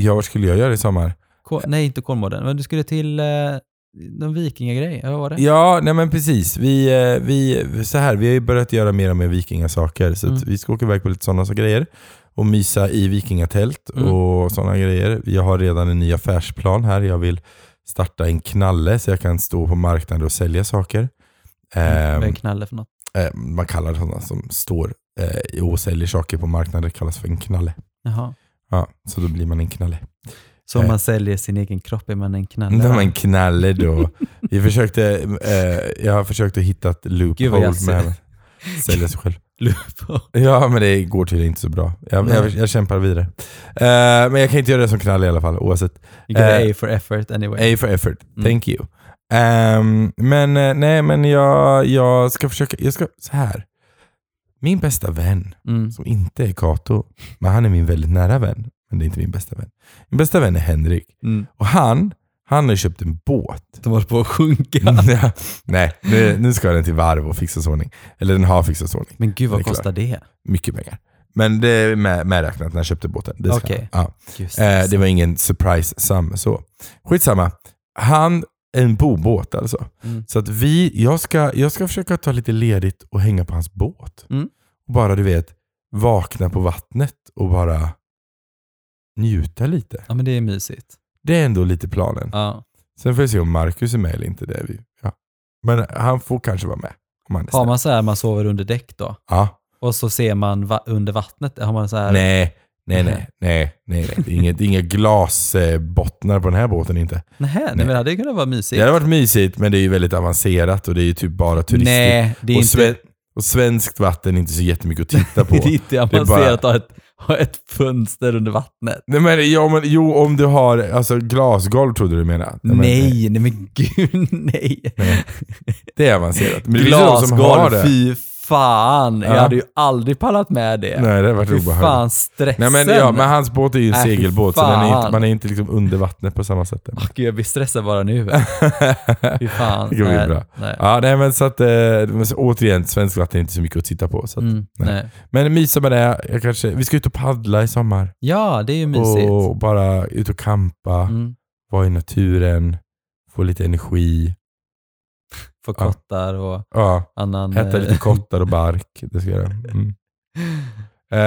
Speaker 1: ja, vad skulle jag göra i sommar?
Speaker 2: Ko- nej, inte Kolmården, men du skulle till eh, någon vikingagrej, eller vad var det?
Speaker 1: Ja, nej men precis. Vi, eh, vi, så här, vi har ju börjat göra mer och mer vikingasaker. Så att
Speaker 2: Mm.
Speaker 1: vi ska åka iväg på lite sådana så grejer. Och mysa i vikingatält
Speaker 2: Mm.
Speaker 1: och sådana grejer. Jag har redan en ny affärsplan här. Jag vill starta en knalle så jag kan stå på marknaden och sälja saker. Ehm,
Speaker 2: Vad är knalle för något?
Speaker 1: eh, man kallar sådana som står eh, och säljer saker på marknaden kallas för en knalle. Eh.
Speaker 2: Jaha.
Speaker 1: Ja, så då blir man en knalle.
Speaker 2: Så om
Speaker 1: Eh.
Speaker 2: man säljer sin egen kropp är man en knalle?
Speaker 1: Då
Speaker 2: va?
Speaker 1: var man knalle då. Vi försökte, eh, jag har försökt att hitta ett
Speaker 2: Gud vad
Speaker 1: loophole
Speaker 2: jag
Speaker 1: med
Speaker 2: ser-
Speaker 1: henne. Sälja sig själv.
Speaker 2: Lupo.
Speaker 1: Ja, men det går tydligen inte så bra. Jag,
Speaker 2: Nej.
Speaker 1: jag, jag kämpar vidare. Eh, men jag kan inte göra det som knalle i alla fall, oavsett.
Speaker 2: You get
Speaker 1: Eh.
Speaker 2: an A for effort anyway.
Speaker 1: A for effort.
Speaker 2: Mm.
Speaker 1: Thank you. Ehm, men eh, nej, men jag, jag ska försöka, jag ska, så här. Min bästa vän,
Speaker 2: Mm.
Speaker 1: som inte är Kato, men han är min väldigt nära vän, men det är inte min bästa vän. Min bästa vän är Henrik.
Speaker 2: Mm.
Speaker 1: Och han, han har ju köpt en båt.
Speaker 2: De håller på att sjunka.
Speaker 1: Ja, Nej, nu, nu ska den till varv och fixas i ordning. Eller den har fixats i ordning.
Speaker 2: Men gud
Speaker 1: Det är
Speaker 2: vad
Speaker 1: klart.
Speaker 2: kostar det?
Speaker 1: Mycket pengar. Men det är med, medräknat när jag köpte båten. Det, ska-
Speaker 2: Okej.
Speaker 1: ja.
Speaker 2: Just
Speaker 1: eh, det var ingen surprise sam så. Skitsamma. Han, en bobåt alltså.
Speaker 2: Mm.
Speaker 1: Så att vi, jag ska, jag ska försöka ta lite ledigt och hänga på hans båt.
Speaker 2: Mm.
Speaker 1: Och bara du vet, vakna på vattnet och bara njuta lite.
Speaker 2: Ja men det är mysigt.
Speaker 1: Det är ändå lite planen.
Speaker 2: Ja.
Speaker 1: Sen får vi se om Marcus är med eller inte. Det är vi. Ja. Men han får kanske vara med. Om han är
Speaker 2: Har
Speaker 1: snäll.
Speaker 2: man så här man sover under däck då?
Speaker 1: ja.
Speaker 2: Och så ser man va- under vattnet, har man så här...
Speaker 1: Nej, nej, nej, nej, nej, nej. Det är inget, det är inga glasbottnar på den här båten inte.
Speaker 2: Nähä, nej.
Speaker 1: Nej.
Speaker 2: men det hade ju kunnat vara
Speaker 1: Det
Speaker 2: mysigt.
Speaker 1: hade varit mysigt, men det är ju väldigt avancerat och det är ju typ bara turistiskt.
Speaker 2: nej, det är
Speaker 1: och, sve-
Speaker 2: inte...
Speaker 1: och svenskt vatten är inte så jättemycket att titta på.
Speaker 2: Det är inte
Speaker 1: bara-
Speaker 2: avancerat att ha ett, ha ett fönster under vattnet.
Speaker 1: nej, men, ja, men, jo, om du har alltså, glasgolv trodde du menade.
Speaker 2: Nej,
Speaker 1: men,
Speaker 2: nej, men gud nej.
Speaker 1: nej. Det är avancerat. Men det finns ju de som har
Speaker 2: Glasgolv,
Speaker 1: det.
Speaker 2: fy fan.
Speaker 1: Ja.
Speaker 2: Jag hade ju aldrig pallat med det.
Speaker 1: Nej, det har varit
Speaker 2: fy
Speaker 1: obehagligt.
Speaker 2: fan stressen.
Speaker 1: Nej, men, ja, men hans båt är ju en
Speaker 2: Nej, fy
Speaker 1: segelbåt, så den är inte,
Speaker 2: fan.
Speaker 1: man är inte liksom under vattnet på samma sätt.
Speaker 2: Åh, Ah, gud, jag blir stressad bara nu. Fy fan.
Speaker 1: Det går ju
Speaker 2: nej,
Speaker 1: bra.
Speaker 2: Nej.
Speaker 1: Ja, nej, men så att, eh, men så, återigen, svenskt vatten är inte så mycket att titta på. Så att,
Speaker 2: Mm,
Speaker 1: nej.
Speaker 2: nej.
Speaker 1: Men mysa med det. Jag kanske, vi ska ut och paddla i sommar.
Speaker 2: Ja, det är ju mysigt.
Speaker 1: Och bara ut och campa,
Speaker 2: Mm.
Speaker 1: vara i naturen, få lite energi.
Speaker 2: Få
Speaker 1: Ja.
Speaker 2: kottar och
Speaker 1: Ja,
Speaker 2: annan...
Speaker 1: äta
Speaker 2: eh,
Speaker 1: lite kottar och bark. Det ska jag göra. Mm. Eh,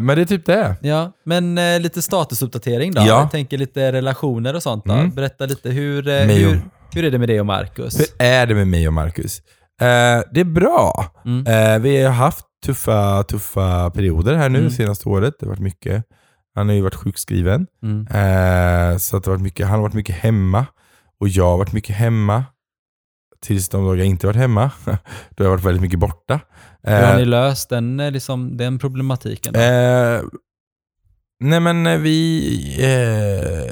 Speaker 1: men det är typ det.
Speaker 2: Ja, men eh, lite statusuppdatering då.
Speaker 1: Ja.
Speaker 2: Jag tänker lite relationer och sånt då.
Speaker 1: Mm.
Speaker 2: Berätta lite, hur, eh,
Speaker 1: Mig och-
Speaker 2: hur, hur är det med dig och Marcus?
Speaker 1: Hur är det med mig och Marcus? Eh, det är bra.
Speaker 2: Mm.
Speaker 1: Eh, vi har haft tuffa, tuffa perioder här nu
Speaker 2: Mm.
Speaker 1: senaste året. Det har varit mycket. Han har ju varit sjukskriven.
Speaker 2: Mm.
Speaker 1: Eh, så att det har varit mycket, han har varit mycket hemma och jag har varit mycket hemma. Tills de dagar jag inte varit hemma. Då har jag varit väldigt mycket borta.
Speaker 2: Hur har
Speaker 1: Eh,
Speaker 2: ni löst den, eh, liksom, den problematiken? Då?
Speaker 1: eh, nej men eh, vi,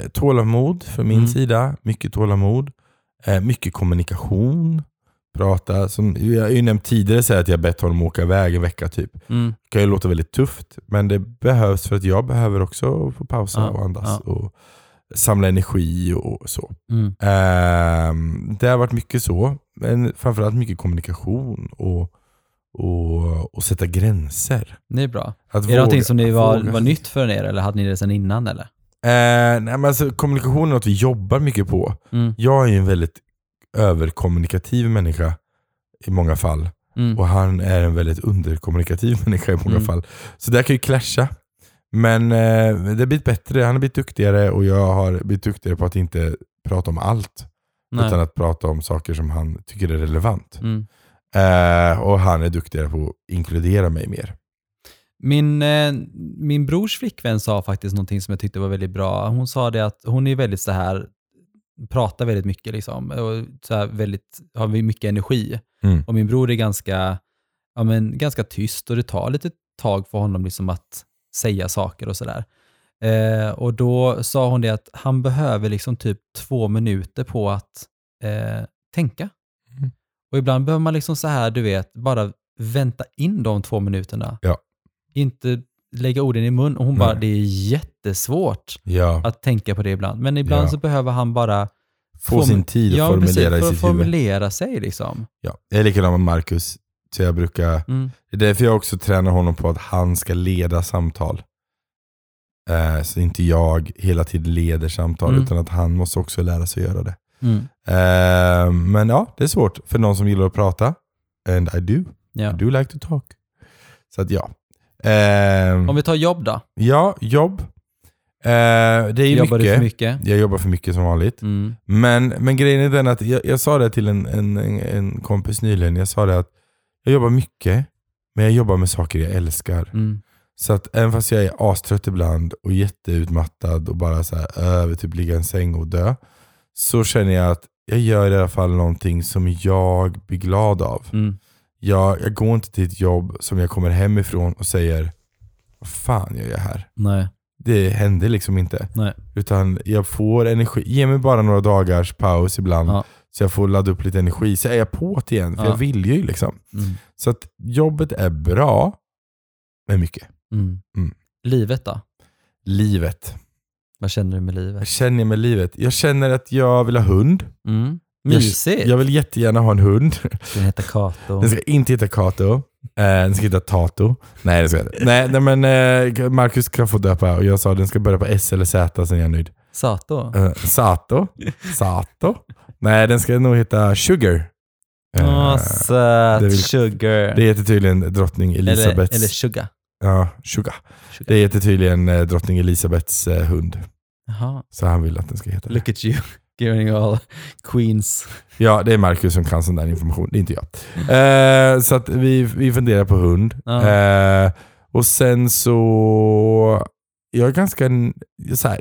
Speaker 1: eh, tålamod från min
Speaker 2: Mm.
Speaker 1: sida. Mycket tålamod. Eh, mycket kommunikation. Prata. Som, jag har ju nämnt tidigare så här att jag bett honom åka iväg en vecka typ.
Speaker 2: Mm.
Speaker 1: Det kan ju låta väldigt tufft, men det behövs för att jag behöver också få pausa
Speaker 2: Ja,
Speaker 1: och andas
Speaker 2: ja.
Speaker 1: och samla energi och så.
Speaker 2: Mm.
Speaker 1: Ehm, det har varit mycket så, men framförallt mycket kommunikation och, och, och sätta gränser.
Speaker 2: Det är bra.
Speaker 1: Att
Speaker 2: Är det någonting som ni var,
Speaker 1: våga-
Speaker 2: var nytt för er eller hade ni det sedan innan? Eller?
Speaker 1: Ehm, nej, men alltså, kommunikation är något vi jobbar mycket på.
Speaker 2: Mm.
Speaker 1: Jag är ju en väldigt överkommunikativ människa i många fall.
Speaker 2: Mm.
Speaker 1: Och han är en väldigt underkommunikativ människa i många
Speaker 2: Mm.
Speaker 1: fall. Så där kan ju clasha. Men eh, det har blivit bättre, han har blivit duktigare och jag har blivit duktigare på att inte prata om allt. Utan
Speaker 2: Nej.
Speaker 1: att prata om saker som han tycker är relevant.
Speaker 2: Mm.
Speaker 1: Eh, och han är duktigare på att inkludera mig mer.
Speaker 2: Min, eh, min brors flickvän sa faktiskt någonting som jag tyckte var väldigt bra. Hon sa det att hon är väldigt så här, pratar väldigt mycket liksom. Och så här väldigt, har mycket energi.
Speaker 1: Mm.
Speaker 2: Och min bror är ganska, ja, men, ganska tyst och det tar lite tag för honom liksom att säga saker och sådär. Eh, och då sa hon det att han behöver liksom typ två minuter på att eh, tänka.
Speaker 1: Mm.
Speaker 2: Och ibland behöver man liksom så här, du vet, bara vänta in de två minuterna.
Speaker 1: Ja.
Speaker 2: Inte lägga orden i mun. Och hon bara,
Speaker 1: Nej.
Speaker 2: det är jättesvårt
Speaker 1: Ja,
Speaker 2: att tänka på det ibland. Men ibland
Speaker 1: Ja.
Speaker 2: så behöver han bara
Speaker 1: få sin tid att
Speaker 2: ja, men precis,
Speaker 1: formulera
Speaker 2: för
Speaker 1: i
Speaker 2: att
Speaker 1: sitt huvud.
Speaker 2: formulera sig liksom.
Speaker 1: Ja. Jag är likadan med Marcus. Så jag brukar,
Speaker 2: Mm.
Speaker 1: det är därför jag också tränar honom på att han ska leda samtal. Eh, så inte jag hela tiden leder samtal,
Speaker 2: Mm.
Speaker 1: utan att han måste också lära sig göra det.
Speaker 2: Mm.
Speaker 1: Eh, men ja, det är svårt för någon som gillar att prata. And I do.
Speaker 2: Ja.
Speaker 1: I do like to talk. Så att ja. Ehm,
Speaker 2: Om vi tar jobb då?
Speaker 1: Ja, jobb. Eh, det är
Speaker 2: Jobbar du
Speaker 1: mycket.
Speaker 2: för mycket?
Speaker 1: Jag jobbar för mycket som vanligt.
Speaker 2: Mm.
Speaker 1: Men, men grejen är den att jag, jag sa det till en, en, en- en kompis nyligen. Jag sa det att jag jobbar mycket, men jag jobbar med saker jag älskar.
Speaker 2: Mm.
Speaker 1: Så att även fast jag är astrött ibland och jätteutmattad och bara så här, över typ ligga i en säng och dö. Så känner jag att jag gör i alla fall någonting som jag blir glad av.
Speaker 2: Mm.
Speaker 1: Jag, jag går inte till ett jobb som jag kommer hemifrån och säger, vad fan gör jag här?
Speaker 2: Nej.
Speaker 1: Det händer liksom inte.
Speaker 2: Nej.
Speaker 1: Utan jag får energi. Ge mig bara några dagars paus ibland.
Speaker 2: Ja.
Speaker 1: Så jag får ladda upp lite energi. Så är jag på det igen. För
Speaker 2: Ja.
Speaker 1: jag vill ju liksom.
Speaker 2: Mm.
Speaker 1: Så att jobbet är bra. Men mycket.
Speaker 2: Mm.
Speaker 1: Mm.
Speaker 2: Livet då?
Speaker 1: Livet.
Speaker 2: Vad känner du med
Speaker 1: Jag
Speaker 2: livet?
Speaker 1: känner med livet. Jag känner att jag vill ha hund.
Speaker 2: Mm.
Speaker 1: Jag-
Speaker 2: Mysigt!
Speaker 1: Jag vill jättegärna ha en hund.
Speaker 2: Ska den heta Kato?
Speaker 1: Den ska inte heta Kato. Eh, den ska heta Tato. Nej, det ska jag inte. Nej, nej men eh, Marcus kan få döpa. Och jag sa den ska börja på S eller Z. Sen är jag nöjd.
Speaker 2: Sato?
Speaker 1: Eh, Sato. Sato. Nej, den ska nog heta Sugar. Eh,
Speaker 2: Åh, söt.
Speaker 1: det vill-
Speaker 2: Sugar.
Speaker 1: det heter tydligen drottning
Speaker 2: eller,
Speaker 1: Elisabeths...
Speaker 2: eller Sugar.
Speaker 1: ja, Sugar.
Speaker 2: Sugar.
Speaker 1: Det heter tydligen eh, drottning Elisabeths eh, hund.
Speaker 2: Jaha.
Speaker 1: Så han vill att den ska heta det.
Speaker 2: Look at you. Giving all queens.
Speaker 1: Ja, det är Marcus som kan sån där information. Det är inte jag. Eh, så att vi, vi funderar på hund.
Speaker 2: Mm. Ja.
Speaker 1: Eh, och sen så... Jag är ganska... n- Så här,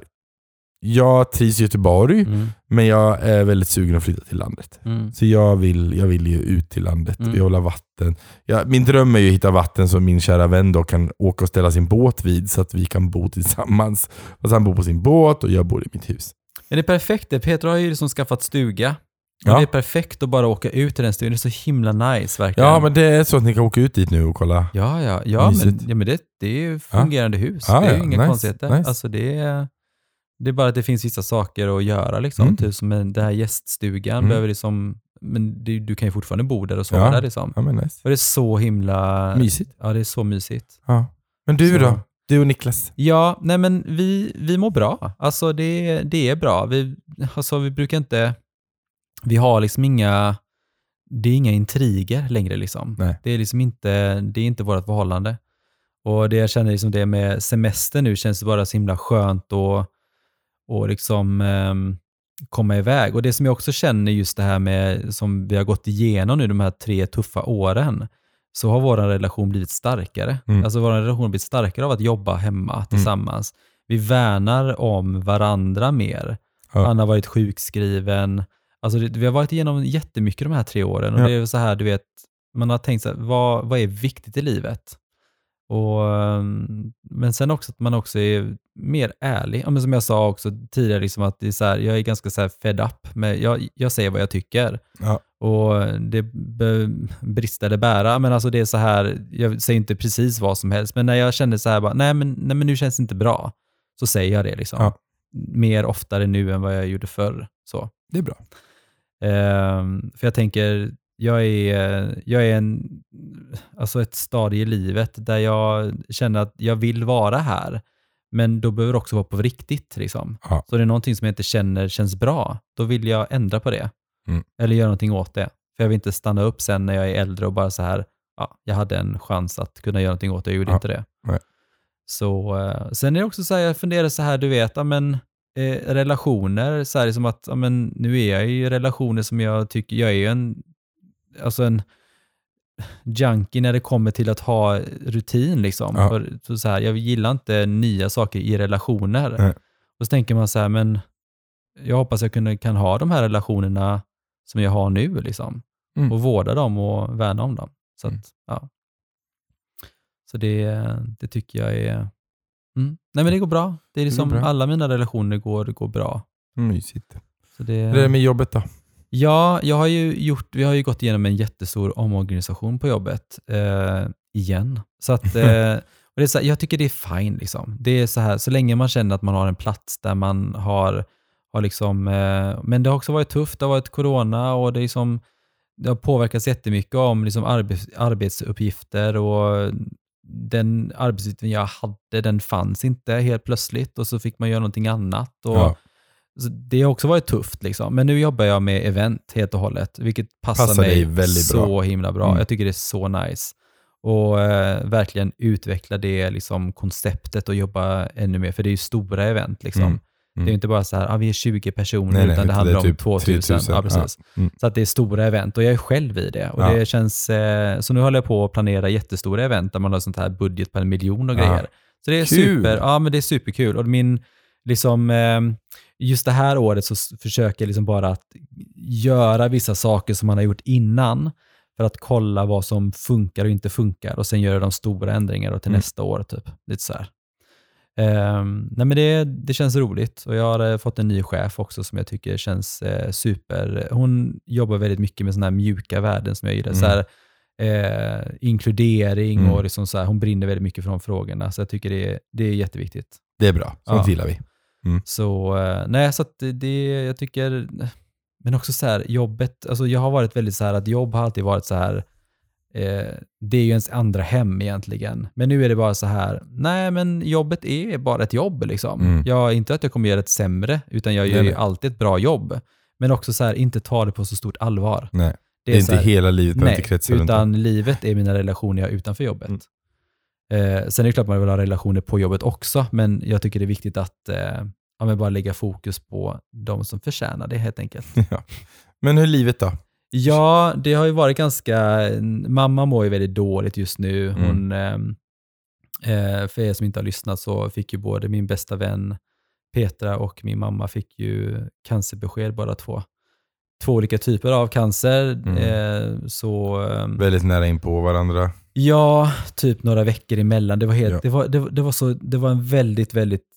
Speaker 1: jag trivs i Göteborg,
Speaker 2: Mm.
Speaker 1: men jag är väldigt sugen att flytta till landet.
Speaker 2: Mm.
Speaker 1: Så jag vill, jag vill ju ut till landet,
Speaker 2: Mm.
Speaker 1: jag vill ha vatten. Ja, min dröm är ju att hitta vatten som min kära vän då kan åka och ställa sin båt vid så att vi kan bo tillsammans. Fast han bor på sin båt och jag bor i mitt hus.
Speaker 2: Men det är perfekt det. Peter har ju liksom skaffat stuga.
Speaker 1: Ja.
Speaker 2: Och det är perfekt att bara åka ut till den stugan. Det är så himla nice verkligen.
Speaker 1: Ja, men det är så att ni kan åka ut dit nu och kolla.
Speaker 2: ja, ja, ja, men,
Speaker 1: Mysigt.
Speaker 2: ja men det, det är ju fungerande hus.
Speaker 1: Ja,
Speaker 2: det är ju
Speaker 1: ja.
Speaker 2: inga
Speaker 1: Nice,
Speaker 2: konstigheter.
Speaker 1: nice.
Speaker 2: Alltså det är, det är bara att det finns vissa saker att göra. Liksom.
Speaker 1: Mm.
Speaker 2: Typ som den här gäststugan.
Speaker 1: Mm.
Speaker 2: Behöver liksom, men du, du kan ju fortfarande bo där och sova
Speaker 1: Ja.
Speaker 2: där. Liksom.
Speaker 1: Ja, men nice.
Speaker 2: Och det är så himla...
Speaker 1: Mysigt.
Speaker 2: Ja, det är så mysigt.
Speaker 1: Ja. Men du
Speaker 2: Äh, Så-
Speaker 1: då? Du och Niklas?
Speaker 2: Ja, nej men vi, vi mår bra. Alltså det, det är bra. Vi, alltså vi brukar inte... Vi har liksom inga... Det är inga intriger längre liksom.
Speaker 1: Nej.
Speaker 2: Det är liksom inte, det är inte vårt förhållande. Och det jag känner liksom det med semester nu känns det bara så himla skönt och, och liksom ehm, komma iväg. Och det som jag också känner just det här med som vi har gått igenom nu de här tre tuffa åren så har vår relation blivit starkare.
Speaker 1: Mm.
Speaker 2: Alltså vår relation har blivit starkare av att jobba hemma tillsammans. Vi värnar om varandra mer.
Speaker 1: Ja.
Speaker 2: Han har varit sjukskriven. Alltså det, vi har varit igenom jättemycket de här tre åren och
Speaker 1: Ja.
Speaker 2: det är så här, du vet, man har tänkt så här, vad, vad är viktigt i livet? Och, ehm, men sen också att man också är mer ärlig. Ja, men som jag sa också tidigare, liksom att det är så här, jag är ganska så här fed up. Med, jag, jag säger vad jag tycker.
Speaker 1: Ja.
Speaker 2: Och det be, brister eller bära. Men alltså det är så här, jag säger inte precis vad som helst, men när jag känner så här, bara, nej, men, nej men nu känns det inte bra, så säger jag det. liksom.
Speaker 1: Ja.
Speaker 2: Mer oftare nu än vad jag gjorde förr. Så.
Speaker 1: Det är bra.
Speaker 2: Ehm, för jag tänker, jag är, jag är en, alltså ett stadie i livet där jag känner att jag vill vara här, men då behöver det också vara på riktigt. Liksom.
Speaker 1: Ja.
Speaker 2: Så det är någonting som jag inte känner känns bra, då vill jag ändra på det.
Speaker 1: Mm.
Speaker 2: Eller göra någonting åt det. För jag vill inte stanna upp sen när jag är äldre och bara så här, ja, jag hade en chans att kunna göra någonting åt det, jag gjorde
Speaker 1: Ja.
Speaker 2: inte det.
Speaker 1: Nej.
Speaker 2: Så, eh, sen är det också så här, jag funderar så här, du vet, ja, men, eh, relationer, så här, liksom att ja, men, nu är jag i relationer som jag tycker, jag är ju en, alltså en junkie när det kommer till att ha rutin. Liksom.
Speaker 1: Ja.
Speaker 2: För, så- så här, jag gillar inte nya saker i relationer.
Speaker 1: Nej.
Speaker 2: Och så tänker man så här, men jag hoppas jag kunde, kan ha de här relationerna som jag har nu liksom.
Speaker 1: Mm.
Speaker 2: och vårda dem och värna om dem. Så, att,
Speaker 1: Mm.
Speaker 2: ja. så det, det tycker jag är... Mm. Nej men det går bra. Det är
Speaker 1: går
Speaker 2: liksom
Speaker 1: bra.
Speaker 2: alla mina relationer går, går bra.
Speaker 1: Mysigt.
Speaker 2: Så det,
Speaker 1: Hur är det med jobbet då?
Speaker 2: Ja, jag har ju gjort, vi har ju gått igenom en jättestor omorganisation på jobbet eh, igen. Så att, eh, och det är så här, jag tycker det är fine. Liksom. Det är så, här, så länge man känner att man har en plats där man har, har liksom, eh, men det har också varit tufft, det har varit corona och det, är liksom, det har påverkats jättemycket om liksom arbets, arbetsuppgifter och den arbetsuppgiften jag hade, den fanns inte helt plötsligt och så fick man göra någonting annat. Och,
Speaker 1: Ja.
Speaker 2: Så det har också varit tufft. Liksom. Men nu jobbar jag med event helt och hållet, vilket passar,
Speaker 1: Passar dig
Speaker 2: mig
Speaker 1: väldigt
Speaker 2: så
Speaker 1: bra.
Speaker 2: himla bra.
Speaker 1: Mm.
Speaker 2: Jag tycker det är så nice. Och eh, verkligen utveckla det liksom, konceptet och jobba ännu mer, för det är ju stora event. Liksom.
Speaker 1: Mm. Mm.
Speaker 2: Det är ju inte bara så här, ah, vi är 20 personer,
Speaker 1: Nej, nej,
Speaker 2: utan
Speaker 1: utan
Speaker 2: det
Speaker 1: det
Speaker 2: handlar
Speaker 1: är
Speaker 2: om
Speaker 1: typ
Speaker 2: 2000.
Speaker 1: 3000.
Speaker 2: Ja, precis.
Speaker 1: Ja. Mm.
Speaker 2: Så att det är stora event och jag är själv i det. Och
Speaker 1: Ja.
Speaker 2: det känns, eh, så nu håller jag på att planera jättestora event där man har sånt här budget på en miljon och
Speaker 1: Ja.
Speaker 2: grejer. Så det är,
Speaker 1: Kul.
Speaker 2: super, ja, men det är superkul. Och min, liksom, eh, just det här året så s- försöker jag liksom bara att göra vissa saker som man har gjort innan för att kolla vad som funkar och inte funkar och sen göra de stora ändringarna till
Speaker 1: Mm.
Speaker 2: nästa år. Typ. Lite så här. Ehm, nej men det, det känns roligt och jag har eh, fått en ny chef också som jag tycker känns eh, super. Hon jobbar väldigt mycket med sådana här mjuka värden som jag gillar.
Speaker 1: Mm.
Speaker 2: Så här, eh, inkludering
Speaker 1: Mm.
Speaker 2: och liksom så här, hon brinner väldigt mycket för de frågorna. Så jag tycker det, är- det är jätteviktigt.
Speaker 1: Det är bra. Sånt
Speaker 2: Ja.
Speaker 1: gillar vi.
Speaker 2: Så eh, nej, så att det- det, jag tycker, men också så här, jobbet, alltså jag har varit väldigt så här att jobb har alltid varit så här, eh, det är ju ens andra hem egentligen. Men nu är det bara så här, nej men jobbet är bara ett jobb liksom.
Speaker 1: Mm.
Speaker 2: Jag, inte att jag kommer göra ett sämre, utan jag gör
Speaker 1: Nej,
Speaker 2: ju
Speaker 1: nej.
Speaker 2: alltid ett bra jobb. Men också så här, inte ta det på så stort allvar.
Speaker 1: Nej. Det är,
Speaker 2: så
Speaker 1: inte
Speaker 2: här,
Speaker 1: hela livet behöver
Speaker 2: Nej,
Speaker 1: inte kretsa runt det.
Speaker 2: utan livet är mina relationer jag har utanför jobbet.
Speaker 1: Mm.
Speaker 2: Eh, sen är det klart man vill ha relationer på jobbet också, men jag tycker det är viktigt att eh, ja, men bara lägga fokus på de som förtjänar det helt enkelt.
Speaker 1: Ja. Men hur är livet då?
Speaker 2: Ja, det har ju varit ganska... Mamma mår ju väldigt dåligt just nu.
Speaker 1: Mm.
Speaker 2: Hon, ehm, eh, för er som inte har lyssnat så fick ju både min bästa vän Petra och min mamma fick ju cancerbesked båda två. Två olika typer av cancer.
Speaker 1: Mm.
Speaker 2: Eh, så... ehm,
Speaker 1: Väldigt nära in på varandra.
Speaker 2: Ja, typ några veckor emellan. Det var, helt,
Speaker 1: Ja.
Speaker 2: det var, det, var- det var, så, det var en väldigt, väldigt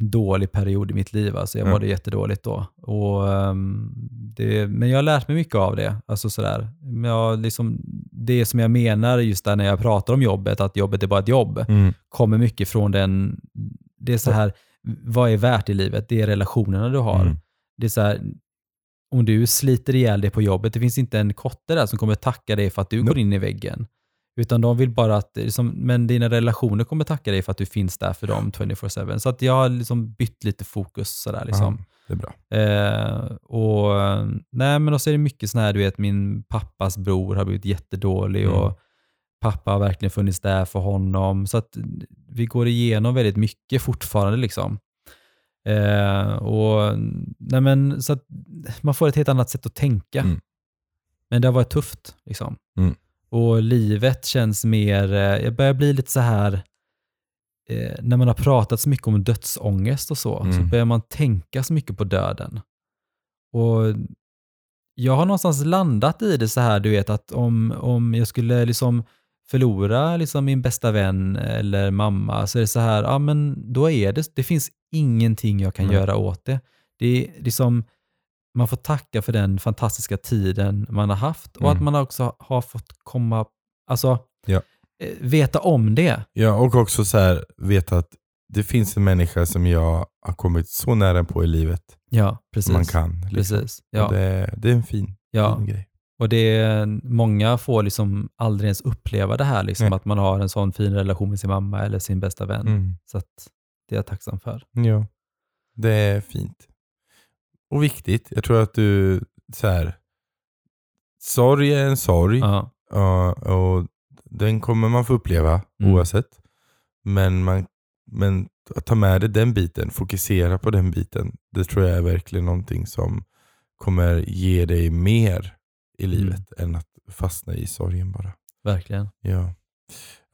Speaker 2: dålig period i mitt liv. Alltså jag
Speaker 1: Ja.
Speaker 2: mådde jättedåligt då. Och, ehm, det, men jag har lärt mig mycket av det. Alltså sådär. Men Jag, liksom, det som jag menar just där när jag pratar om jobbet, att jobbet är bara ett jobb,
Speaker 1: Mm.
Speaker 2: kommer mycket från den... Det är så här, vad är värt i livet? Det är relationerna du har.
Speaker 1: Mm.
Speaker 2: Det är så här, om du sliter ihjäl dig på jobbet, det finns inte en kotte där som kommer tacka dig för att du
Speaker 1: Nope.
Speaker 2: går in i väggen. Utan de vill bara att, liksom, men dina relationer kommer tacka dig för att du finns där för dem 24-7. Så att jag har liksom bytt lite fokus sådär liksom.
Speaker 1: Ja, det är bra.
Speaker 2: Eh, och, nej, men också är det mycket sån här, du vet, min pappas bror har blivit jättedålig
Speaker 1: Mm.
Speaker 2: och pappa har verkligen funnits där för honom. Så att vi går igenom väldigt mycket fortfarande liksom. Eh, och, nej, men, så att man får ett helt annat sätt att tänka.
Speaker 1: Mm.
Speaker 2: Men det har varit tufft liksom.
Speaker 1: Mm.
Speaker 2: Och livet känns mer, eh, jag börjar bli lite så här, eh, när man har pratat så mycket om dödsångest och så, så
Speaker 1: Mm.
Speaker 2: börjar man tänka så mycket på döden. Och jag har någonstans landat i det så här, du vet, att om, om jag skulle liksom förlora liksom min bästa vän eller mamma så är det så här, ja men då är det, det finns ingenting jag kan
Speaker 1: Nej.
Speaker 2: göra åt det. Det är liksom, man får tacka för den fantastiska tiden man har haft och
Speaker 1: Mm.
Speaker 2: att man också har fått komma, alltså
Speaker 1: Ja.
Speaker 2: eh, veta om det.
Speaker 1: Ja, och också så här, veta att det finns en människa som jag har kommit så nära på i livet
Speaker 2: Ja, precis.
Speaker 1: som man kan. liksom.
Speaker 2: Precis.
Speaker 1: Och
Speaker 2: Ja,
Speaker 1: Det, det är en fin,
Speaker 2: ja.
Speaker 1: fin grej.
Speaker 2: Och det är, många får liksom aldrig ens uppleva det här, liksom,
Speaker 1: Nej.
Speaker 2: att man har en sån fin relation med sin mamma eller sin bästa vän.
Speaker 1: Mm.
Speaker 2: Så att det är jag tacksam för.
Speaker 1: Ja, det är fint. Och viktigt. Jag tror att du, så här, sorg är en sorg.
Speaker 2: Ja,
Speaker 1: Ja, och den kommer man få uppleva
Speaker 2: Mm.
Speaker 1: oavsett. Men, man, men att ta med dig den biten, fokusera på den biten, det tror jag är verkligen någonting som kommer ge dig mer i
Speaker 2: Mm.
Speaker 1: livet än att fastna i sorgen bara.
Speaker 2: verkligen.
Speaker 1: Ja.